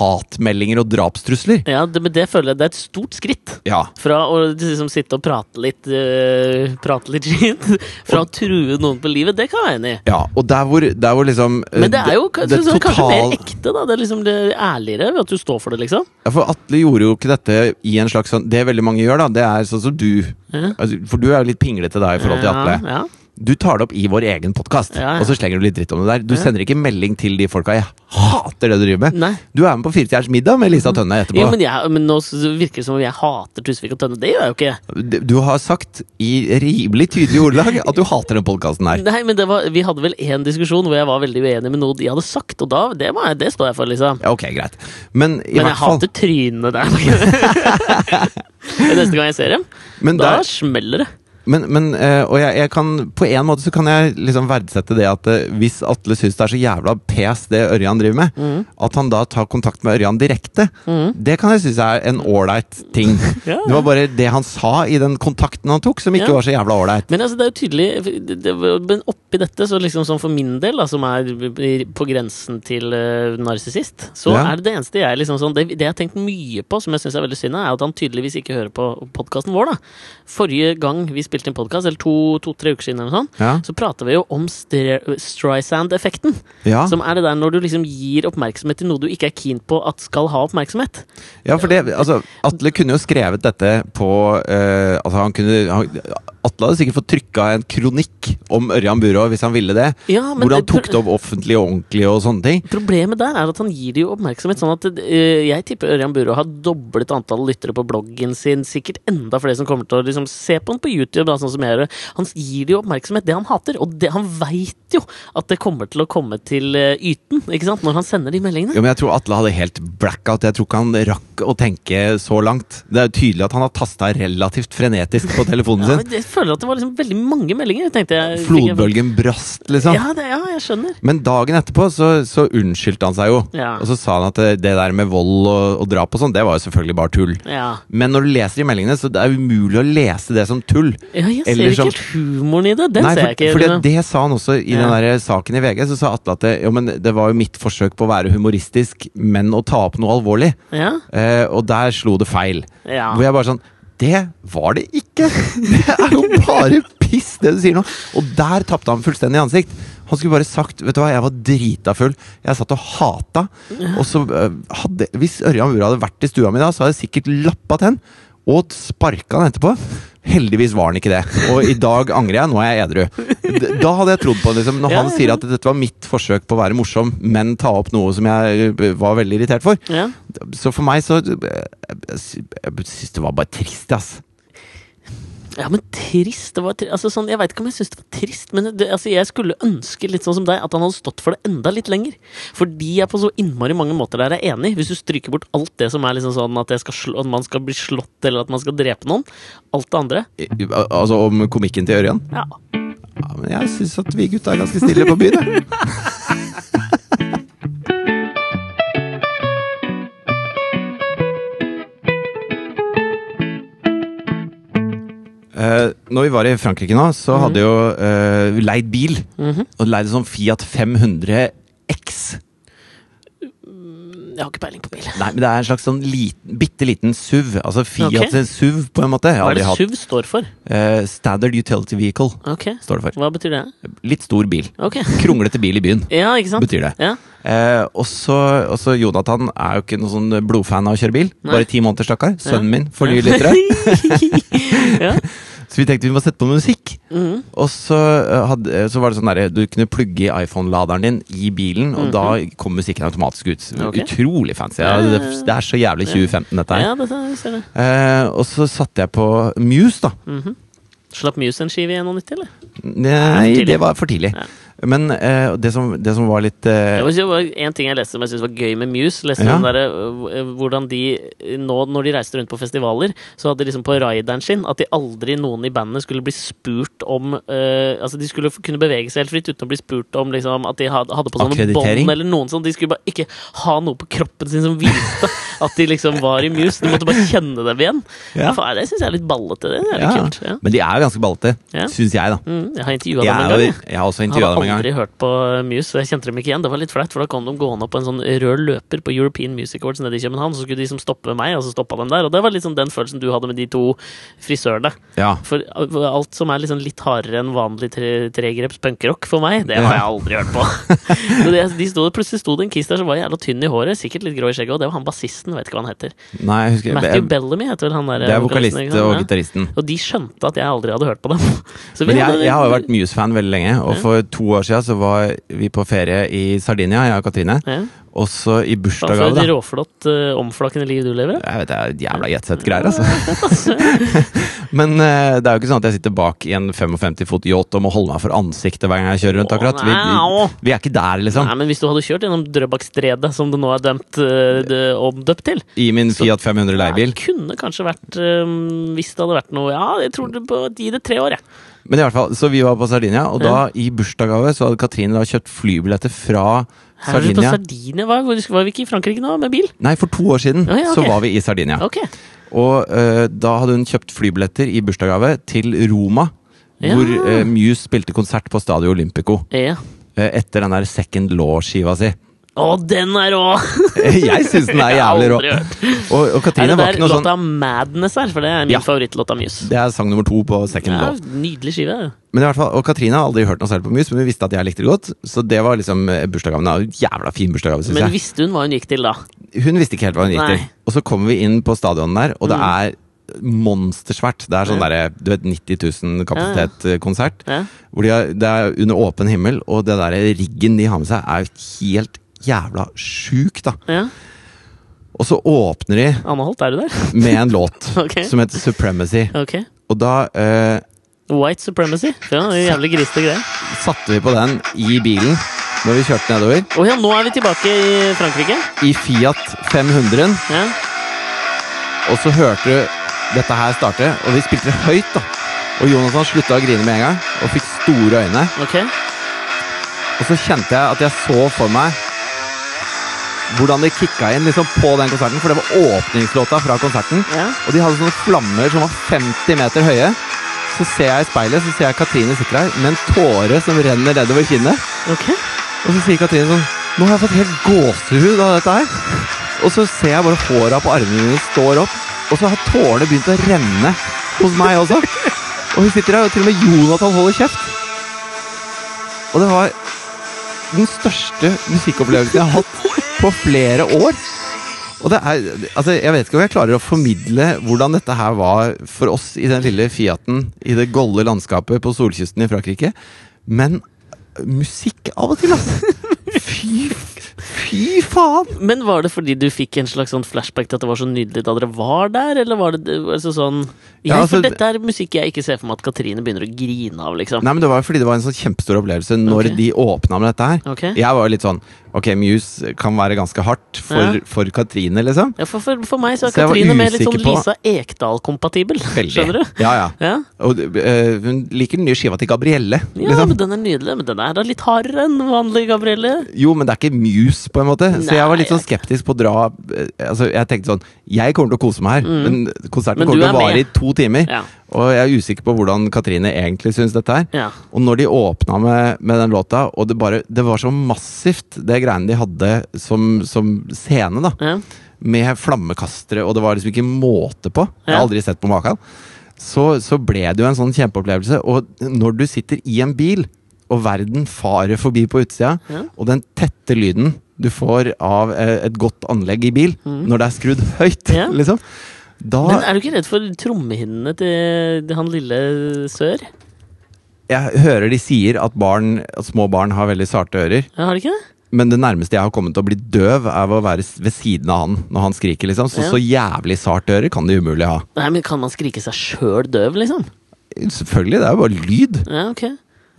Speaker 2: hatmeldinger og drapstrusler.
Speaker 1: Ja, det, men det føler jeg det er et stort skritt.
Speaker 2: Ja.
Speaker 1: Fra å liksom sitte og prate litt eh, Prate litt skit. Fra å true noen på livet. Det kan jeg være enig i.
Speaker 2: ja. Og der hvor, der hvor liksom eh,
Speaker 1: Men det er jo
Speaker 2: det
Speaker 1: kanskje, sånn, kanskje
Speaker 2: total-
Speaker 1: mer ekte, da. Det er liksom det ærligere ved at du står for det, liksom.
Speaker 2: Ja, for Atle gjorde jo ikke dette i en slags sånn Det veldig mange gjør, da, det er sånn som du.
Speaker 1: Ja.
Speaker 2: Altså, for du er jo litt pinglete da i forhold til Atle.
Speaker 1: Ja, ja.
Speaker 2: Du tar det opp i vår egen podkast,
Speaker 1: Ja, ja.
Speaker 2: og så slenger du litt dritt om det der. Du sender ikke melding til de folka. Jeg hater det du driver med.
Speaker 1: Nei.
Speaker 2: Du er med på Firestjerners middag med Lisa Tønne etterpå.
Speaker 1: Jo, men, jeg, men nå s- virker det som om jeg hater Tusvik og Tønne. Det gjør jeg jo ikke.
Speaker 2: D- Du har sagt i rimelig tydelig ordelag at du hater den podkasten her.
Speaker 1: Nei, men det var, Vi hadde vel én diskusjon hvor jeg var veldig uenig med noe de hadde sagt, og da, det, må jeg, det står jeg for, liksom.
Speaker 2: Ja, ok, greit. Men i
Speaker 1: Men jeg
Speaker 2: hvert fall
Speaker 1: hater trynene der. Neste gang jeg ser dem,
Speaker 2: men,
Speaker 1: da
Speaker 2: der,
Speaker 1: smeller det.
Speaker 2: men, men eh, Og jeg, jeg kan På en måte så kan jeg liksom verdsette det at eh, hvis Atle syns det er så jævla pes det Ørjan driver med,
Speaker 1: Mm.
Speaker 2: at han da tar kontakt med Ørjan direkte, det kan jeg synes er en ålreit ting.
Speaker 1: Ja.
Speaker 2: Det var bare det han sa i den kontakten han tok, som ikke
Speaker 1: Ja.
Speaker 2: var så jævla ålreit.
Speaker 1: Men altså, det er jo tydelig det, det, Men oppi dette, så liksom sånn for min del, da, som er på grensen til uh, narsissist, så
Speaker 2: Ja.
Speaker 1: er det det eneste jeg liksom sånn Det, det jeg har tenkt mye på, som jeg syns er veldig synd, er at han tydeligvis ikke hører på podkasten vår, da. Forrige gang vi spilte spilte inn podkast, eller to-tre uker siden, eller noe sånt,
Speaker 2: Ja.
Speaker 1: så prata vi jo om stre- Streisand-effekten.
Speaker 2: Ja.
Speaker 1: Som er det der når du liksom gir oppmerksomhet til noe du ikke er keen på at skal ha oppmerksomhet.
Speaker 2: Ja, for det, altså, Atle kunne jo skrevet dette på eh, altså han kunne, han, Atle hadde sikkert fått trykka en kronikk om Ørjan Burå hvis han ville det.
Speaker 1: Ja, men-
Speaker 2: Hvordan han tok det opp offentlig og ordentlig og sånne ting.
Speaker 1: Problemet der er at han gir det jo oppmerksomhet. Sånn at eh, jeg tipper Ørjan Burå har doblet antallet lyttere på bloggen sin. Sikkert enda flere som kommer til å liksom, se på han på YouTube. Da, sånn som jeg gjør. det. Han gir det jo oppmerksomhet, det han hater. Og det, han veit jo at det kommer til å komme til eh, yten ikke sant? når han sender de meldingene.
Speaker 2: Ja, men Jeg tror Atle hadde helt blackout. Jeg tror ikke han rakk å tenke så langt. Det er jo tydelig at han har tasta relativt frenetisk på telefonen
Speaker 1: Ja,
Speaker 2: sin.
Speaker 1: men jeg føler at det var liksom veldig mange meldinger. tenkte jeg. Fikk jeg-
Speaker 2: Flodbølgen brast, liksom.
Speaker 1: Ja, det, ja, jeg skjønner.
Speaker 2: Men dagen etterpå så, så unnskyldte han seg jo.
Speaker 1: Ja.
Speaker 2: Og så sa han at det, det der med vold og, og drap og sånn, det var jo selvfølgelig bare tull.
Speaker 1: Ja.
Speaker 2: Men når du leser de meldingene, så det er umulig å lese det som tull.
Speaker 1: Ja, jeg ser
Speaker 2: Eller
Speaker 1: ikke
Speaker 2: som-
Speaker 1: helt humoren i det. Den
Speaker 2: Nei,
Speaker 1: ser jeg ikke.
Speaker 2: for,
Speaker 1: liksom.
Speaker 2: fordi det sa han også i den
Speaker 1: Ja.
Speaker 2: der saken i VG. Så sa Atle at det, jo, men det var jo mitt forsøk på å være humoristisk, men å ta opp noe alvorlig.
Speaker 1: Ja?
Speaker 2: Eh, og der slo det feil.
Speaker 1: Ja.
Speaker 2: Hvor jeg bare sånn Det var det ikke! Det er jo bare piss, det du sier nå! Og der tapte han fullstendig ansikt. Han skulle bare sagt Vet du hva, jeg var drita full. Jeg satt og hata. Og så eh, hadde Hvis Ørjan Bure hadde vært i stua mi da, så hadde jeg sikkert lappa til han. Og sparka han etterpå. Heldigvis var han ikke det. Og i dag angrer jeg. Nå er jeg edru. D- Da hadde jeg trodd på det. Liksom. Når
Speaker 1: Ja,
Speaker 2: han
Speaker 1: ja,
Speaker 2: sier
Speaker 1: ja.
Speaker 2: at dette var mitt forsøk på å være morsom, men ta opp noe som jeg eh, var veldig irritert for,
Speaker 1: Ja.
Speaker 2: så for meg så Jeg, jeg, jeg syns det var bare trist, ass.
Speaker 1: Ja, men trist. Det var tri altså, sånn, jeg veit ikke om jeg syns det var trist, men det, altså, jeg skulle ønske litt sånn som deg at han hadde stått for det enda litt lenger. Fordi jeg på så innmari mange måter der er enig. Hvis du stryker bort alt det som er liksom sånn at, jeg skal slå, at man skal bli slått, eller at man skal drepe noen. Alt det andre.
Speaker 2: I- i- al- Altså om komikken til Ørjan?
Speaker 1: Ja.
Speaker 2: Ja, men jeg syns at vi gutta er ganske stille på byen, jeg. Eh, når vi var i Frankrike nå, så hadde jo eh, vi leid bil. Og leid en sånn Fiat 500 X.
Speaker 1: Mm, Jeg har ikke peiling på bil.
Speaker 2: Nei, men det er en slags sånn liten, bitte liten SUV. Altså Fiat
Speaker 1: Ok.
Speaker 2: sin SUV, på en måte. Jeg
Speaker 1: Hva
Speaker 2: har
Speaker 1: er
Speaker 2: aldri
Speaker 1: det
Speaker 2: hatt.
Speaker 1: SUV står for?
Speaker 2: Eh, Standard Utility Vehicle,
Speaker 1: Ok.
Speaker 2: står det for.
Speaker 1: Hva betyr det?
Speaker 2: Litt stor bil.
Speaker 1: Ok.
Speaker 2: Kronglete bil i byen,
Speaker 1: Ja, ikke sant?
Speaker 2: betyr det.
Speaker 1: Ja.
Speaker 2: Eh, og så og så Jonathan er jo ikke noen sånn blodfan av å kjøre bil.
Speaker 1: Nei.
Speaker 2: Bare ti måneder, stakkar. Sønnen min, for nye lyttere.
Speaker 1: ja.
Speaker 2: Så vi tenkte vi må sette på musikk.
Speaker 1: Mm.
Speaker 2: Og så, eh, hadde, eh, så var det sånn derre Du kunne plugge i iPhone-laderen din i bilen, og da kom musikken automatisk ut.
Speaker 1: Mhm. Ok.
Speaker 2: Utrolig fancy.
Speaker 1: Ja,
Speaker 2: Ja,
Speaker 1: ja, ja.
Speaker 2: det, det er så jævlig 2015, dette her.
Speaker 1: ja, det jeg ser det.
Speaker 2: Eh, og så satte jeg på Muse, da.
Speaker 1: Mm. Slapp Muse en skive i 91, eller?
Speaker 2: Nei,
Speaker 1: tidlig.
Speaker 2: det var for tidlig.
Speaker 1: Ja.
Speaker 2: Men eh, det, som, det som var litt
Speaker 1: Jeg
Speaker 2: eh,
Speaker 1: må si, det var en ting jeg leste som jeg syntes var gøy med Muse. Leste
Speaker 2: Ja.
Speaker 1: den der, øh, øh, hvordan de øh, nå, Når de reiste rundt på festivaler, så hadde de liksom på rideren sin at de aldri noen i bandet skulle bli spurt om øh, Altså De skulle f- kunne bevege seg helt fritt uten å bli spurt om liksom, at de hadde, hadde på sånne
Speaker 2: Akkreditering?
Speaker 1: bånd eller noen sånn. De skulle bare ikke ha noe på kroppen sin som viste at de liksom var i Muse. De måtte bare kjenne dem igjen.
Speaker 2: Ja.
Speaker 1: Faen, det syns jeg er litt ballete. Det, det er litt
Speaker 2: ja,
Speaker 1: kult. Ja.
Speaker 2: Men de er jo ganske ballete,
Speaker 1: Ja.
Speaker 2: syns jeg, da.
Speaker 1: Mm, jeg har intervjua
Speaker 2: Jeg,
Speaker 1: dem en
Speaker 2: er
Speaker 1: gang.
Speaker 2: jo,
Speaker 1: jeg.
Speaker 2: jeg har også
Speaker 1: Jeg
Speaker 2: intervjua
Speaker 1: hadde
Speaker 2: dem en gang.
Speaker 1: aldri hørt på Muse, så jeg kjente dem ikke igjen. Det var litt flaut, for da kom de gående opp på en sånn rød løper på European Music Awards nede i København, så skulle de som stoppe meg, og så stoppa dem der. Og det var litt sånn den følelsen du hadde med de to frisørene.
Speaker 2: Ja.
Speaker 1: For alt som er liksom litt hardere enn vanlig tre- tregreps punkrock for meg, det har jeg aldri hørt på. Så det, de sto, plutselig sto det en kis der som var jævla tynn i håret, sikkert litt grå i skjegget, og det var han bassisten, vet ikke hva han heter.
Speaker 2: Nei, jeg husker
Speaker 1: Matthew
Speaker 2: jeg,
Speaker 1: Bellamy heter vel han der.
Speaker 2: Det er
Speaker 1: vokalisten, ikke
Speaker 2: vokalist
Speaker 1: sant?
Speaker 2: og
Speaker 1: Ja.
Speaker 2: gitaristen.
Speaker 1: Og de skjønte at jeg aldri hadde hørt på dem. Så vi
Speaker 2: Men jeg,
Speaker 1: hadde-
Speaker 2: jeg har jo vært Muse-fan veldig lenge, og for to år siden så var vi på ferie i Sardinia, jeg og Katrine.
Speaker 1: ja.
Speaker 2: Og så i
Speaker 1: Hva for
Speaker 2: bursdagsgave,
Speaker 1: et
Speaker 2: da.
Speaker 1: råflott, eh, omflakkende liv du lever?
Speaker 2: Jeg vet, det er jævla jetsett-greier, altså. Men eh, det er jo ikke sånn at jeg sitter bak i en 55 fot yacht og må holde meg for ansiktet hver gang jeg kjører rundt,
Speaker 1: Å,
Speaker 2: akkurat. Vi,
Speaker 1: nei.
Speaker 2: vi, vi er ikke der, liksom.
Speaker 1: Nei, men Hvis du hadde kjørt gjennom Drøbakstredet, som det nå er dømt, eh, det- omdøpt til
Speaker 2: I min Fiat 500 leiebil.
Speaker 1: Det kunne kanskje vært eh, Hvis det hadde vært noe Ja, jeg tror det på, gi det tre år, jeg.
Speaker 2: Men i hvert fall, så vi var på Sardinia, og da i bursdagsgave så hadde Katrine da kjøpt flybilletter fra
Speaker 1: Her er vi på
Speaker 2: Sardinia.
Speaker 1: Sardinia. Var, var vi ikke i Frankrike nå, med bil?
Speaker 2: Nei, for to år siden
Speaker 1: Ja, ja,
Speaker 2: så
Speaker 1: ok.
Speaker 2: var vi i Sardinia.
Speaker 1: Ok.
Speaker 2: Og eh, da hadde hun kjøpt flybilletter i bursdagsgave til Roma.
Speaker 1: Ja.
Speaker 2: Hvor eh, Muse spilte konsert på Stadio Olympico
Speaker 1: Ja.
Speaker 2: eh, etter den der Second Law-skiva si.
Speaker 1: Å, den er rå!
Speaker 2: Jeg syns den
Speaker 1: Jeg har
Speaker 2: er jævlig rå.
Speaker 1: aldri hørt.
Speaker 2: Og, og
Speaker 1: Er
Speaker 2: Katrine
Speaker 1: det
Speaker 2: var
Speaker 1: der
Speaker 2: ikke noe sånn
Speaker 1: låta Madness er? For det er min
Speaker 2: Ja.
Speaker 1: favorittlåt av Muse.
Speaker 2: Det er sang nummer to på second
Speaker 1: Ja,
Speaker 2: låt.
Speaker 1: nydelig skive.
Speaker 2: Men i hvert fall, Og Katrine har aldri hørt noe særlig på mus, men vi visste at jeg likte det godt. Så det var liksom eh, bursdagsgaven. da. Jævla fin bursdagsgave, syns
Speaker 1: Men
Speaker 2: jeg.
Speaker 1: visste hun hva hun gikk til da?
Speaker 2: Hun visste ikke helt hva hun gikk
Speaker 1: Nei. Mm.
Speaker 2: til. Og så kommer vi inn på stadionet der, og det er monstersvært. Det er sånn derre du vet, 90 000 kapasitet-konsert.
Speaker 1: Ja.
Speaker 2: Hvor de har, Det er under åpen himmel, og det der riggen de har med seg, er jo helt jævla sjuk, da.
Speaker 1: ja.
Speaker 2: Og så åpner de
Speaker 1: Anne Holt, er du der?
Speaker 2: med en låt
Speaker 1: Ok.
Speaker 2: som heter 'Supremacy'.
Speaker 1: Ok.
Speaker 2: Og da eh,
Speaker 1: White Supremacy. Ja, det er jævlig grisete greier.
Speaker 2: satte vi på den i bilen når vi kjørte nedover.
Speaker 1: Å ja, nå er vi tilbake i Frankrike.
Speaker 2: I Fiat 500-en.
Speaker 1: Ja.
Speaker 2: Og så hørte du dette her starte, og vi spilte det høyt, da. Og Jonas han slutta å grine med en gang, og fikk store øyne.
Speaker 1: Ok.
Speaker 2: Og så kjente jeg at jeg så for meg hvordan det kicka inn liksom på den konserten, for det var åpningslåta fra konserten.
Speaker 1: Ja.
Speaker 2: Og de hadde sånne flammer som var 50 meter høye. Så ser jeg i speilet, så ser jeg Katrine sitter der med en tåre som renner nedover kinnet.
Speaker 1: Ok.
Speaker 2: Og så sier Katrine sånn Nå har jeg fått helt gåsehud av dette her. Og så ser jeg bare håra på armene mine står opp, og så har tårene begynt å renne hos meg også. Og hun sitter der, og til og med Jonathan holder kjeft. Og det var den største musikkopplevelsen jeg har hatt på flere år. Og det er, altså Jeg vet ikke om jeg klarer å formidle hvordan dette her var for oss i den lille Fiaten i det golde landskapet på solkysten i Frankrike, men musikk av og til, altså! Fy, fy faen!
Speaker 1: Men var det fordi du fikk en slags sånn flashback til at det var så nydelig da dere var der, eller var det altså sånn Jeg,
Speaker 2: Ja, altså-
Speaker 1: For dette er musikk jeg ikke ser for meg at Katrine begynner å grine av, liksom.
Speaker 2: Nei, men Det var fordi det var en sånn kjempestor opplevelse når
Speaker 1: Ok.
Speaker 2: de åpna med dette her.
Speaker 1: Ok.
Speaker 2: Jeg var jo litt sånn Ok, Muse kan være ganske hardt for,
Speaker 1: Ja.
Speaker 2: for Katrine, liksom.
Speaker 1: Ja, for, for, for meg så er
Speaker 2: Så jeg var
Speaker 1: Katrine mer litt sånn
Speaker 2: usikker på-
Speaker 1: Lisa Ekdal-kompatibel.
Speaker 2: Veldig.
Speaker 1: Skjønner du?
Speaker 2: Ja, ja.
Speaker 1: Ja,
Speaker 2: Og eh, hun liker den nye skiva til Gabrielle.
Speaker 1: ja
Speaker 2: liksom.
Speaker 1: men den er nydelig. Men den er da litt hardere enn vanlig, Gabrielle.
Speaker 2: Jo, men det er ikke Muse, på en måte. Så jeg var litt
Speaker 1: Nei,
Speaker 2: sånn skeptisk på å dra eh, Altså, Jeg tenkte sånn Jeg kommer til å kose meg her, men konserten
Speaker 1: Mm. Men du
Speaker 2: kommer til
Speaker 1: er
Speaker 2: å vare
Speaker 1: med.
Speaker 2: i to timer.
Speaker 1: Ja.
Speaker 2: Og jeg er usikker på hvordan Katrine egentlig syns dette her.
Speaker 1: Ja.
Speaker 2: Og når de åpna med, med den låta, og det bare Det var så massivt, det greiene de hadde som, som scene, da.
Speaker 1: ja.
Speaker 2: Med flammekastere, og det var liksom ikke måte på. Jeg
Speaker 1: Ja.
Speaker 2: har aldri sett på maken. Så, så ble det jo en sånn kjempeopplevelse. Og når du sitter i en bil, og verden farer forbi på utsida,
Speaker 1: Ja.
Speaker 2: og den tette lyden du får av eh, et godt anlegg i bil, når det er skrudd høyt,
Speaker 1: Mm. Ja.
Speaker 2: liksom da,
Speaker 1: Men er du ikke redd for trommehinnene til til han lille sør?
Speaker 2: Jeg hører de sier at, barn, at små barn har veldig sarte ører.
Speaker 1: Ja, har de ikke det?
Speaker 2: Men det nærmeste jeg har kommet til å bli døv, er ved å være s- ved siden av han når han skriker. liksom Så
Speaker 1: Ja.
Speaker 2: så jævlig sart øre kan de umulig ha.
Speaker 1: Nei, men Kan man skrike seg sjøl døv, liksom?
Speaker 2: Selvfølgelig, det er jo bare lyd.
Speaker 1: Ja, ok.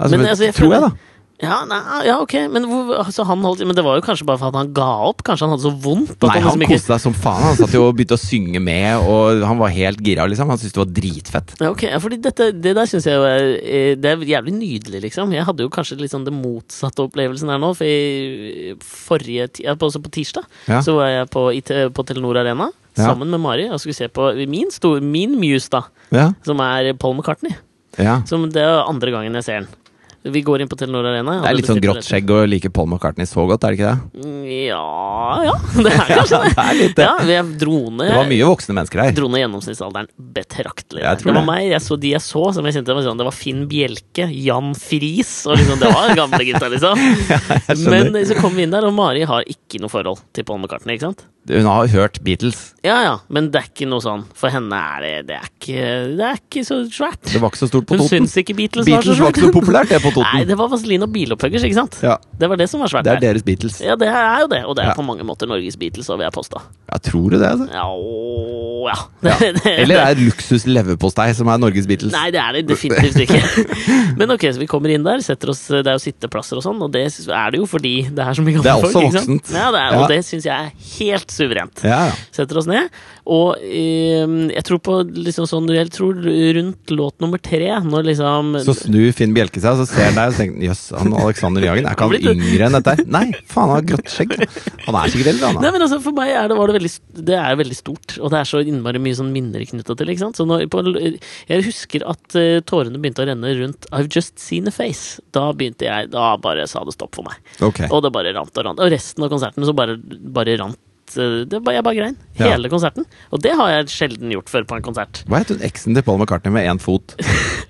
Speaker 2: Altså, men, tror jeg,
Speaker 1: føler-
Speaker 2: da.
Speaker 1: Ja, nei, ah, ja ok. Men, hvor, altså, han holdt, men det var jo kanskje bare for at han ga opp? Kanskje han hadde så vondt? at
Speaker 2: Nei, han
Speaker 1: liksom ikke-
Speaker 2: koste seg som faen. Han satt jo og begynte å synge med, og han var helt gira, liksom. Han syntes det var dritfett.
Speaker 1: Ja, ok, ja, fordi dette, Det der syns jeg jo er, eh, Det er jævlig nydelig, liksom. Jeg hadde jo kanskje litt sånn det motsatte opplevelsen her nå. For i forrige ti- ja, på- Også på tirsdag
Speaker 2: Ja.
Speaker 1: så var jeg på, i te- på Telenor Arena
Speaker 2: Ja.
Speaker 1: sammen med Mari og skulle se på min, stor, min Muse, da.
Speaker 2: Ja,
Speaker 1: Som er Paul McCartney.
Speaker 2: ja.
Speaker 1: Som det er andre gangen jeg ser den. Vi går inn på Telenor Arena. jeg
Speaker 2: Det er
Speaker 1: hadde
Speaker 2: litt sånn
Speaker 1: bestilt
Speaker 2: grått skjegg å like Paul McCartney så godt, er det ikke det?
Speaker 1: billett. Mm, Ja, ja. Det er kanskje det.
Speaker 2: det er litt det.
Speaker 1: Ja, vi dro ned
Speaker 2: Det var mye voksne mennesker her.
Speaker 1: dro ned gjennomsnittsalderen betraktelig.
Speaker 2: Jeg
Speaker 1: det
Speaker 2: tror
Speaker 1: var
Speaker 2: det.
Speaker 1: meg, jeg så de jeg så, som jeg kjente var sånn, det var Finn Bjelke, Jan Friis og liksom, Det var gamle gutta, liksom.
Speaker 2: skjønner.
Speaker 1: Men eh, så kom vi inn der, og Mari har ikke noe forhold til Paul McCartney. ikke sant?
Speaker 2: Hun har hørt Beatles.
Speaker 1: Ja ja, men det er ikke noe sånn. For henne er det Det er ikke, det er ikke så svært.
Speaker 2: Det var ikke så stort på
Speaker 1: Hun
Speaker 2: Toten.
Speaker 1: syns ikke Beatles,
Speaker 2: Beatles
Speaker 1: var så
Speaker 2: var ikke så
Speaker 1: svært.
Speaker 2: populært, det, på
Speaker 1: Nei,
Speaker 2: Toten.
Speaker 1: det var Vazelin og bilopphuggers, ikke sant?
Speaker 2: Ja,
Speaker 1: Det var det som var svært
Speaker 2: det er
Speaker 1: der.
Speaker 2: deres Beatles.
Speaker 1: Ja, det er jo det, og det er
Speaker 2: Ja.
Speaker 1: på mange måter Norges Beatles, og vil jeg påstå.
Speaker 2: Ja, tror du det? Altså?
Speaker 1: Ja, å, ja. Det, det,
Speaker 2: Eller er luksus leverpostei som er Norges Beatles?
Speaker 1: Nei, det er det definitivt ikke. Men ok, så vi kommer inn der, setter oss, det er jo sitteplasser og sånn, og det er det jo fordi det er så mye
Speaker 2: Det
Speaker 1: gamle folk.
Speaker 2: er også
Speaker 1: ikke sant?
Speaker 2: voksent.
Speaker 1: Ja, det er, og
Speaker 2: Ja.
Speaker 1: det syns jeg er helt suverent.
Speaker 2: Ja, ja.
Speaker 1: Setter oss ned. Og eh, jeg tror på liksom sånn Jeg tror rundt låt nummer tre, når liksom
Speaker 2: Så snur Finn Bjelke seg, og så ser han deg og så tenker han, jøss, han Alexander Jagen, er ikke
Speaker 1: Han
Speaker 2: han
Speaker 1: blir-
Speaker 2: yngre enn dette? her?» Nei, faen, han har grått skjegg. Han er sikkert eldre,
Speaker 1: Nei,
Speaker 2: han. da.
Speaker 1: men altså, For meg er det, var det, veldig, det er veldig stort, og det er så innmari mye sånn minner knytta til. ikke sant? Så når, på, jeg husker at eh, tårene begynte å renne rundt I've Just Seen a Face. Da begynte jeg, da bare sa det stopp for meg.
Speaker 2: Ok.
Speaker 1: Og det bare rant og rant. Og resten av konserten så bare, bare rant eh, det bare, Jeg bare grein.
Speaker 2: Ja.
Speaker 1: Hele konserten. Og det har jeg sjelden gjort før på en konsert.
Speaker 2: Hva het hun eksen til Paul McCartney med én fot?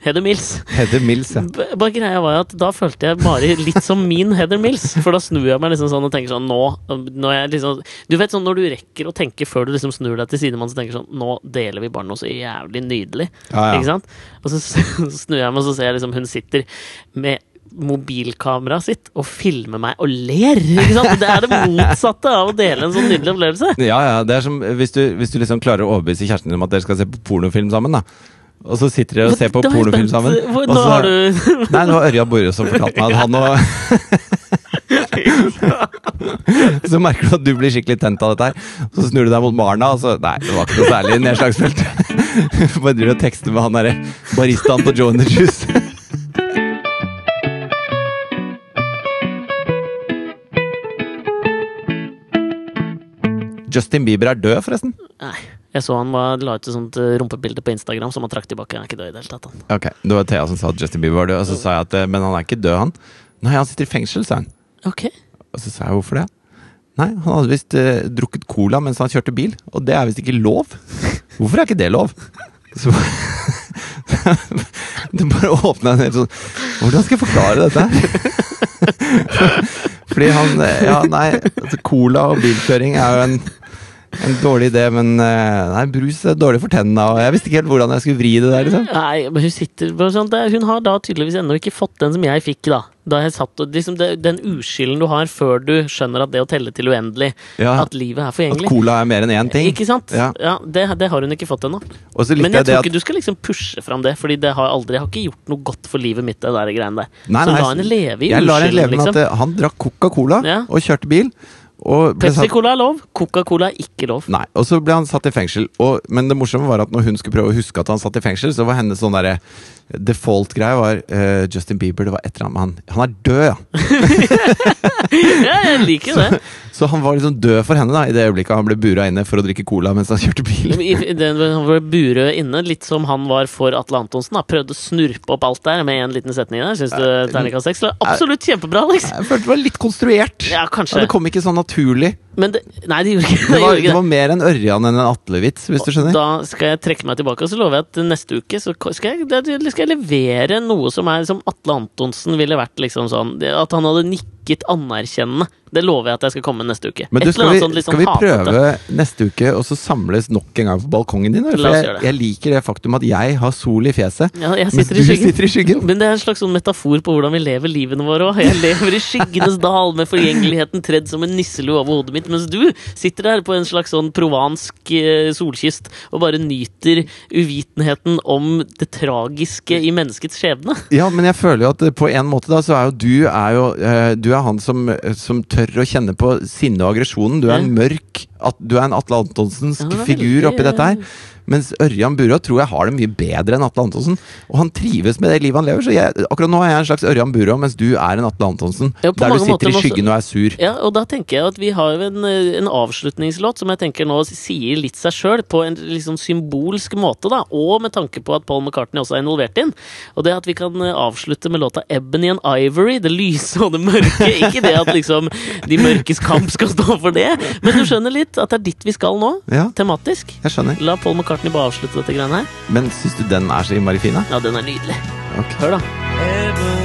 Speaker 1: Heather Mills.
Speaker 2: Heather Mills, ja.
Speaker 1: B- Bare greia var jo at Da følte jeg bare litt som min Heather Mills. For da snur jeg meg liksom sånn og tenker sånn Nå når jeg liksom, Du vet sånn når du rekker å tenke før du liksom snur deg til sidemannen, så tenker du sånn Nå deler vi bare noe så jævlig nydelig.
Speaker 2: Ja, ja.
Speaker 1: Ikke sant? Og så s- snur jeg meg, og så ser jeg liksom hun sitter med mobilkameraet sitt og filmer meg og ler! Ikke sant? Det er det motsatte av å dele en sånn nydelig opplevelse.
Speaker 2: Ja, ja, det er som hvis du, hvis du liksom klarer å overbevise kjæresten din om at dere skal se på pornofilm sammen, da. Og så sitter dere og ser på
Speaker 1: Da er jeg
Speaker 2: pornofilm
Speaker 1: spent.
Speaker 2: sammen.
Speaker 1: Hvor-
Speaker 2: og
Speaker 1: Nå
Speaker 2: så-
Speaker 1: har du
Speaker 2: Nei, det var Ørjan Borre som fortalte meg at han og Så merker du at du blir skikkelig tent av dette her. Så snur du deg mot Marna, og så Nei, det var ikke noe særlig nedslagsfelt. Bare driver og tekster med han derre baristaen på Joe and the Juice. Justin Bieber er død, forresten.
Speaker 1: Nei. Jeg så han var, la ut et sånt eh, rumpebilde på Instagram som han trakk tilbake. Han er ikke død i det hele tatt. Han.
Speaker 2: Ok, Det var Thea som sa at Justin Bieber var død, og så sa jeg at eh, Men han er ikke død, han. Nei, han sitter i fengsel, sa hun.
Speaker 1: Ok.
Speaker 2: Og så sa jeg hvorfor det? Nei, han hadde visst eh, drukket cola mens han kjørte bil, og det er visst ikke lov. Hvorfor er ikke det lov? Så Det bare åpna en helt sånn Hvordan skal jeg forklare dette her? Fordi han eh, Ja, nei, altså cola og bilkjøring er jo en en dårlig idé, men eh, nei, brus er dårlig for tenna, og jeg visste ikke helt hvordan jeg skulle vri det der, liksom.
Speaker 1: Nei, men hun sitter bare sånn det, Hun har da tydeligvis ennå ikke fått den som jeg fikk, da. Da jeg satt og liksom det, Den uskylden du har før du skjønner at det å telle til uendelig
Speaker 2: Ja.
Speaker 1: At livet er
Speaker 2: At
Speaker 1: forgjengelig.
Speaker 2: cola er mer enn én ting.
Speaker 1: Ikke sant?
Speaker 2: Ja.
Speaker 1: det, det har hun ikke fått ennå.
Speaker 2: Og så
Speaker 1: Men
Speaker 2: likte
Speaker 1: jeg
Speaker 2: jeg det
Speaker 1: tror
Speaker 2: at
Speaker 1: ikke du skal liksom pushe fram det, Fordi det har aldri, jeg har ikke gjort noe godt for livet mitt. Det der greiene der
Speaker 2: Nei,
Speaker 1: Så
Speaker 2: nei,
Speaker 1: la henne leve i
Speaker 2: Jeg lar en
Speaker 1: uskylden,
Speaker 2: leve med
Speaker 1: liksom.
Speaker 2: at eh, han drakk Coca-Cola
Speaker 1: Ja.
Speaker 2: og kjørte bil. Og ble satt,
Speaker 1: Pepsi-Cola er lov, Coca-Cola er ikke lov.
Speaker 2: nei, og så ble han satt i fengsel. Og, men det morsomme var at når hun skulle prøve å huske at han satt i fengsel, så var hennes sånn derre default-greie var eh, Justin Bieber, det var et eller annet med han. Han er død, ja!
Speaker 1: Ja, jeg liker det.
Speaker 2: Så han var liksom død for henne da i det øyeblikket han ble bura inne for å drikke cola mens han kjørte bil.
Speaker 1: I- i- Den han var Burøe inne, litt som han var for Atle Antonsen. Da. Prøvde å snurpe opp alt der med en liten setning der. Syns du terningkast seks? eller? Absolutt kjempebra, Alex!
Speaker 2: Jeg følte det var litt konstruert.
Speaker 1: Ja,
Speaker 2: Ja,
Speaker 1: kanskje.
Speaker 2: det kom ikke sånn naturlig.
Speaker 1: Men det, nei, det gjorde ikke
Speaker 2: Det
Speaker 1: det.
Speaker 2: var,
Speaker 1: Gjorde
Speaker 2: det
Speaker 1: ikke
Speaker 2: var mer en Ørjan enn en Atle-vits, hvis du
Speaker 1: det.
Speaker 2: skjønner.
Speaker 1: Da skal jeg trekke meg tilbake, og så lover jeg at neste uke så ko- skal jeg, det- skal jeg levere noe som er som Atle Antonsen ville vært. liksom sånn, det- At han hadde nikket anerkjennende. Det lover jeg at jeg skal komme med neste uke.
Speaker 2: Men
Speaker 1: Et
Speaker 2: du,
Speaker 1: eller
Speaker 2: skal vi,
Speaker 1: annet sånn litt
Speaker 2: skal
Speaker 1: sånn
Speaker 2: vi
Speaker 1: hatete.
Speaker 2: prøve neste uke og så samles nok en gang på balkongen din? eller?
Speaker 1: La
Speaker 2: For
Speaker 1: oss
Speaker 2: jeg,
Speaker 1: gjøre det.
Speaker 2: jeg liker det faktum at jeg har sol i fjeset,
Speaker 1: Ja, jeg
Speaker 2: mens
Speaker 1: sitter
Speaker 2: du
Speaker 1: i skyggen.
Speaker 2: sitter i skyggen.
Speaker 1: Men det er en slags sånn metafor på hvordan vi lever livene våre òg. Jeg lever i skyggenes dal med forgjengeligheten tredd som en nisselue over hodet mitt, mens du sitter der på en slags sånn provansk eh, solkyst og bare nyter uvitenheten om det tragiske i menneskets skjebne.
Speaker 2: Ja, men jeg føler jo at eh, på en måte da, så er jo du er jo, eh, du er han som, eh, som tør å kjenne på sinne og aggresjonen. Du er en mørk at, Du er en Atle Antonsensk
Speaker 1: Ja, det er
Speaker 2: figur
Speaker 1: veldig,
Speaker 2: oppi dette her. Mens Ørjan Burå tror jeg har det mye bedre enn Atle Antonsen. Og han trives med det livet han lever, så jeg, akkurat nå er jeg en slags Ørjan Burå, mens du er en Atle Antonsen.
Speaker 1: Ja, på
Speaker 2: der
Speaker 1: mange
Speaker 2: du sitter
Speaker 1: måter
Speaker 2: i
Speaker 1: også-
Speaker 2: skyggen og er sur.
Speaker 1: Ja, og da tenker jeg at vi har jo en, eh, en avslutningslåt som jeg tenker nå sier litt seg sjøl, på en litt sånn symbolsk måte, da, og med tanke på at Paul McCartney også er involvert inn. Og det at vi kan eh, avslutte med låta 'Ebony and Ivory', det lyse og det mørke. Ikke det at liksom de mørkes kamp skal stå for det, men du skjønner litt at det er dit vi skal nå,
Speaker 2: Ja,
Speaker 1: tematisk.
Speaker 2: jeg skjønner.
Speaker 1: La Paul McCartney bare avslutte dette greiene her.
Speaker 2: Men syns du den er så innmari fin, da?
Speaker 1: Ja, den er nydelig.
Speaker 2: Ok.
Speaker 1: Hør, da.
Speaker 4: Ebony